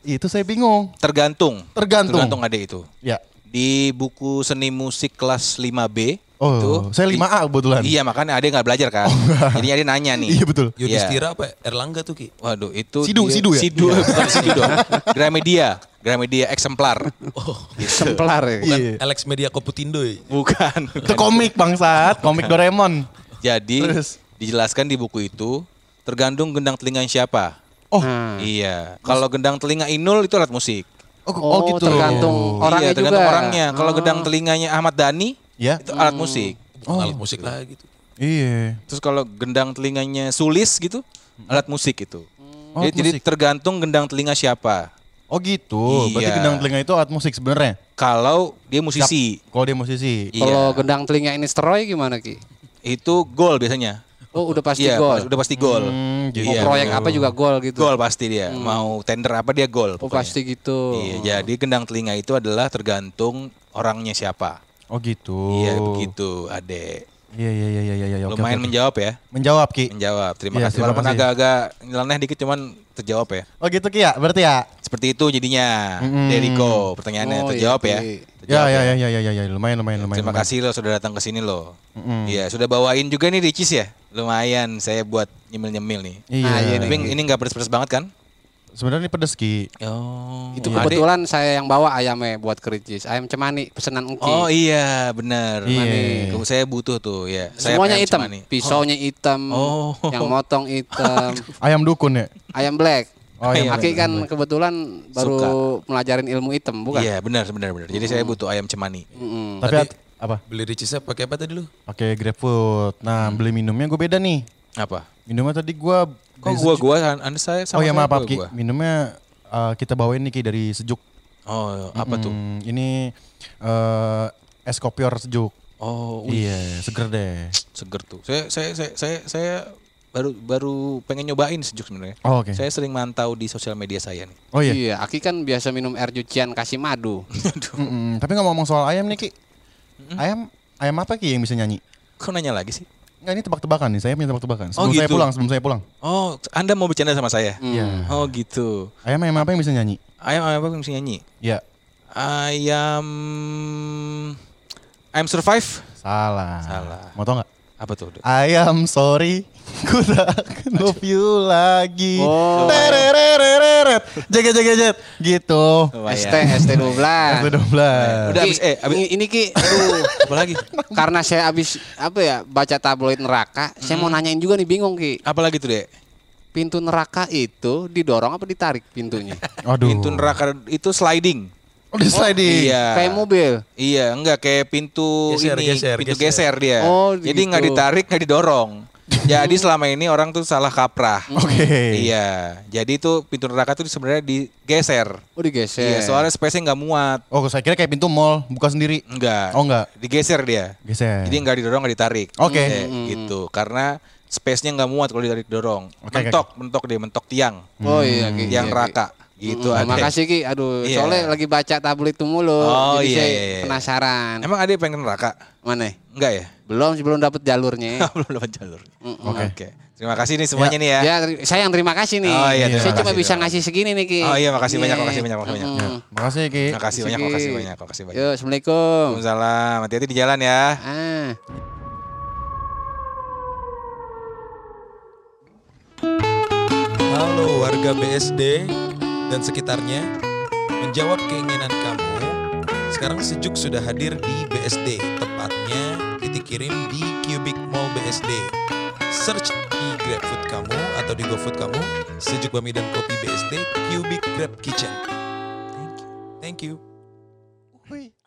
Speaker 1: Itu saya bingung.
Speaker 3: Tergantung.
Speaker 1: Tergantung.
Speaker 3: Tergantung ade itu.
Speaker 1: Ya.
Speaker 3: Di buku seni musik kelas 5B
Speaker 1: Oh,
Speaker 3: itu
Speaker 1: saya 5A kebetulan.
Speaker 3: Iya makanya Ade nggak belajar kan. Jadi Ade nanya nih.
Speaker 1: Oh, Iya, betul.
Speaker 3: Iya.
Speaker 4: Yudhistira apa Erlangga tuh Ki?
Speaker 3: Waduh itu
Speaker 1: Sidu,
Speaker 3: dia-
Speaker 1: sidu ya?
Speaker 3: Sidu, bukan sidu dong. Gramedia, Gramedia eksemplar.
Speaker 1: Oh,
Speaker 2: Semplar ya.
Speaker 4: Bukan
Speaker 1: Iya.
Speaker 4: Alex Media Koputindo ya?
Speaker 3: Bukan.
Speaker 1: Itu komik bangsat, komik Doraemon.
Speaker 3: Jadi
Speaker 1: Terus?
Speaker 3: dijelaskan di buku itu tergantung gendang telinga siapa.
Speaker 1: Oh,
Speaker 2: Nah.
Speaker 3: Iya. Kalau gendang telinga Inul itu alat musik.
Speaker 1: oh, oh
Speaker 2: Oh,
Speaker 1: gitu.
Speaker 2: tergantung orangnya
Speaker 3: iya, tergantung
Speaker 2: juga. Oh.
Speaker 3: orangnya. Kalau gendang telinganya Ahmad Dhani
Speaker 1: Ya.
Speaker 3: itu alat musik.
Speaker 4: Oh. Alat musik lah gitu.
Speaker 1: Iya.
Speaker 3: Terus kalau gendang telinganya Sulis gitu alat musik itu.
Speaker 1: Hmm. Oh,
Speaker 3: jadi,
Speaker 1: alat
Speaker 3: jadi
Speaker 1: musik.
Speaker 3: tergantung gendang telinga siapa.
Speaker 1: Oh gitu. Berarti
Speaker 3: Iya.
Speaker 1: gendang telinga itu alat musik sebenarnya.
Speaker 3: Kalau dia musisi
Speaker 1: Kalau dia musisi.
Speaker 3: Iya.
Speaker 2: Kalau gendang telinga ini steroy gimana Ki?
Speaker 3: itu gol biasanya.
Speaker 2: Oh udah pasti
Speaker 3: Iya,
Speaker 2: gol.
Speaker 3: udah pasti gol.
Speaker 2: Mau
Speaker 3: Iya,
Speaker 2: proyek
Speaker 3: betul.
Speaker 2: apa juga gol gitu.
Speaker 3: Gol pasti dia. Mau tender apa dia gol.
Speaker 2: Oh
Speaker 3: pokoknya.
Speaker 2: pasti gitu.
Speaker 3: Iya, jadi gendang telinga itu adalah tergantung orangnya siapa.
Speaker 1: Oh gitu.
Speaker 3: Iya begitu, Ade.
Speaker 1: Iya iya iya iya iya. iya, oke,
Speaker 3: Lumayan
Speaker 1: oke.
Speaker 3: menjawab ya.
Speaker 1: menjawab Ki.
Speaker 3: Menjawab. Terima
Speaker 1: Iya,
Speaker 3: kasih.
Speaker 1: terima
Speaker 3: Walaupun
Speaker 1: kasih.
Speaker 3: agak-agak nyeleneh dikit cuman terjawab ya.
Speaker 1: Oh gitu Ki ya, berarti ya.
Speaker 3: Seperti itu jadinya.
Speaker 1: Mm-mm.
Speaker 3: Deriko, pertanyaannya
Speaker 2: Oh, iya,
Speaker 3: terjawab ya.
Speaker 2: oke.
Speaker 1: Ya
Speaker 3: Terjawab
Speaker 1: ya ya ya ya ya, ya. lumayan lumayan lumayan.
Speaker 3: Terima
Speaker 1: lumayan.
Speaker 3: kasih loh sudah datang ke sini loh. Iya, sudah bawain juga nih Ricis ya. Lumayan saya buat nyemil-nyemil nih.
Speaker 1: Iya.
Speaker 2: Ah, iya
Speaker 3: Tapi ini nggak pedes-pedes banget kan?
Speaker 1: Sebenarnya ini pedes Ki.
Speaker 3: Oh.
Speaker 2: Itu
Speaker 3: Ade-
Speaker 2: Gitu, kebetulan saya yang bawa ayamnya buat kericis. Ayam cemani pesanan Engki.
Speaker 3: Oh iya, benar.
Speaker 1: Iya.
Speaker 3: Mani. Kamu- Saya butuh tuh, ya. Saya
Speaker 2: Semuanya
Speaker 3: pengen
Speaker 2: hitam.
Speaker 3: cuma nih.
Speaker 2: Pisaunya hitam.
Speaker 3: Oh.
Speaker 2: Yang motong hitam.
Speaker 1: Ayam dukun ya.
Speaker 2: ayam black.
Speaker 1: Oh, ayam
Speaker 2: Aki
Speaker 1: black,
Speaker 2: kan
Speaker 1: ayam black.
Speaker 2: kebetulan baru pelajarin ilmu hitam, bukan?
Speaker 3: Iya, benar, benar, benar. Jadi
Speaker 1: Oh.
Speaker 3: saya butuh ayam cemani.
Speaker 2: Mm-mm.
Speaker 3: Hmm,
Speaker 1: Tapi
Speaker 4: Tadi-
Speaker 1: at- apa?
Speaker 4: Beli ricisnya pakai apa tadi lu?
Speaker 1: Pakai GrabFood. Nah,
Speaker 3: Hmm.
Speaker 1: beli minumnya gue beda nih.
Speaker 3: Apa?
Speaker 1: Minumnya tadi gua
Speaker 3: Kok gua gua an- anda saya
Speaker 1: Oh
Speaker 3: sama
Speaker 1: ya
Speaker 3: saya,
Speaker 1: maaf, maaf
Speaker 3: gua-
Speaker 1: Ki.
Speaker 3: gua.
Speaker 1: Minumnya eh, kita bawain nih Ki dari Sejuk.
Speaker 3: Oh, apa tuh?
Speaker 1: Hmm, ini eh, es kopior sejuk.
Speaker 3: Oh, wih,
Speaker 1: Iya, seger deh.
Speaker 3: seger tuh. Saya saya saya saya, saya baru baru pengen nyobain sejuk sebenarnya.
Speaker 1: Oh, oke.
Speaker 3: Saya sering mantau di sosial media saya nih.
Speaker 1: Oh iya.
Speaker 2: Iya, Aki kan biasa minum air cucian kasih madu.
Speaker 3: gitu.
Speaker 1: Mm-mm. Tapi ngomong-ngomong soal ayam nih Ki. Ayam ayam apa Ki yang bisa nyanyi?
Speaker 3: Kok nanya lagi sih?
Speaker 1: Enggak ini tebak-tebakan nih, saya punya tebak-tebakan. Sebelum
Speaker 3: Oh,
Speaker 1: saya
Speaker 3: gitu.
Speaker 1: pulang, sebelum saya pulang.
Speaker 3: Oh, Anda mau bercanda sama saya?
Speaker 1: Iya.
Speaker 3: Oh, gitu.
Speaker 1: Ayam ayam apa yang bisa nyanyi?
Speaker 3: Ayam ayam apa yang bisa nyanyi?
Speaker 1: Iya.
Speaker 3: Ayam I'm Survive.
Speaker 1: Salah.
Speaker 3: Salah.
Speaker 1: Mau tau nggak?
Speaker 3: Apa tuh?
Speaker 1: Ayam sorry, ku takkan love you lagi.
Speaker 2: Oh.
Speaker 1: Tererereret, jaga jaga jet, gitu.
Speaker 2: ST ST12.
Speaker 1: S12.
Speaker 3: ya. Udah habis eh habis
Speaker 2: Ini, ini Ki, aduh,
Speaker 3: apa lagi?
Speaker 2: karena saya habis apa ya, baca tabloid neraka, saya mau
Speaker 3: Hmm.
Speaker 2: nanyain juga nih bingung Ki.
Speaker 3: Apa lagi tuh, Dek?
Speaker 2: Pintu neraka itu didorong apa ditarik pintunya?
Speaker 1: Aduh.
Speaker 3: Pintu neraka itu sliding.
Speaker 1: Oh, di sliding.
Speaker 3: Iya.
Speaker 2: Kayak mobil.
Speaker 3: Iya, enggak kayak pintu
Speaker 4: Geser,
Speaker 3: ini,
Speaker 4: geser,
Speaker 3: pintu geser,
Speaker 4: geser.
Speaker 3: dia.
Speaker 2: Oh,
Speaker 3: Jadi
Speaker 2: gitu.
Speaker 3: nggak ditarik, nggak didorong. Jadi selama ini orang tuh salah kaprah.
Speaker 1: Oke.
Speaker 3: Iya. Jadi itu pintu neraka tuh sebenarnya digeser.
Speaker 2: Oh digeser.
Speaker 3: Iya, soalnya space-nya nggak muat.
Speaker 1: Oh, saya kira kayak pintu mall, buka sendiri.
Speaker 3: Enggak.
Speaker 1: Oh, enggak.
Speaker 3: Digeser dia.
Speaker 1: Geser.
Speaker 3: Iya. Jadi nggak didorong, nggak ditarik.
Speaker 1: Oke.
Speaker 3: Iya, Gitu. Karena space-nya nggak muat kalau ditarik dorong.
Speaker 1: Oke, oke.
Speaker 3: mentok, mentok dia, mentok tiang.
Speaker 2: Oh iya Ki. iya,
Speaker 3: Tiang
Speaker 2: Ki.
Speaker 3: neraka. Gitu
Speaker 2: Mm,
Speaker 3: Ade.
Speaker 2: Makasih Ki. Aduh,
Speaker 3: Iya.
Speaker 2: soalnya lagi baca tabloid itu mulu.
Speaker 3: Oh,
Speaker 2: jadi
Speaker 3: iya,
Speaker 2: saya
Speaker 3: iya, iya.
Speaker 2: penasaran.
Speaker 3: Emang ada yang pengen neraka?
Speaker 2: Mana?
Speaker 3: Enggak ya?
Speaker 2: Belum sih, belum dapat jalurnya.
Speaker 3: Belum dapat jalur.
Speaker 2: Mm-mm.
Speaker 1: Oke.
Speaker 3: Terima kasih nih semuanya nih ya.
Speaker 2: Ya, ter- saya yang terima kasih nih.
Speaker 3: Oh, iya, terima
Speaker 2: saya cuma
Speaker 3: kasih,
Speaker 2: bisa
Speaker 3: terima
Speaker 2: ngasih segini nih, Ki.
Speaker 3: Oh, iya, makasih
Speaker 2: Iya.
Speaker 3: banyak, makasih banyak, makasih banyak.
Speaker 2: Mm-mm. Ya.
Speaker 1: Makasih Ki.
Speaker 3: Terima kasih banyak,
Speaker 2: Ki.
Speaker 3: makasih banyak, makasih banyak.
Speaker 2: Yuk, Assalamualaikum.
Speaker 3: Waalaikumsalam. Hati-hati di jalan ya.
Speaker 2: Ah.
Speaker 4: Halo warga BSD dan sekitarnya Menjawab keinginan kamu Sekarang Sejuk sudah hadir di BSD Tepatnya titik kirim di Cubic Mall BSD Search di GrabFood kamu atau di GoFood kamu Sejuk Bami dan Kopi BSD Cubic Grab Kitchen Thank you Thank you
Speaker 1: Wih.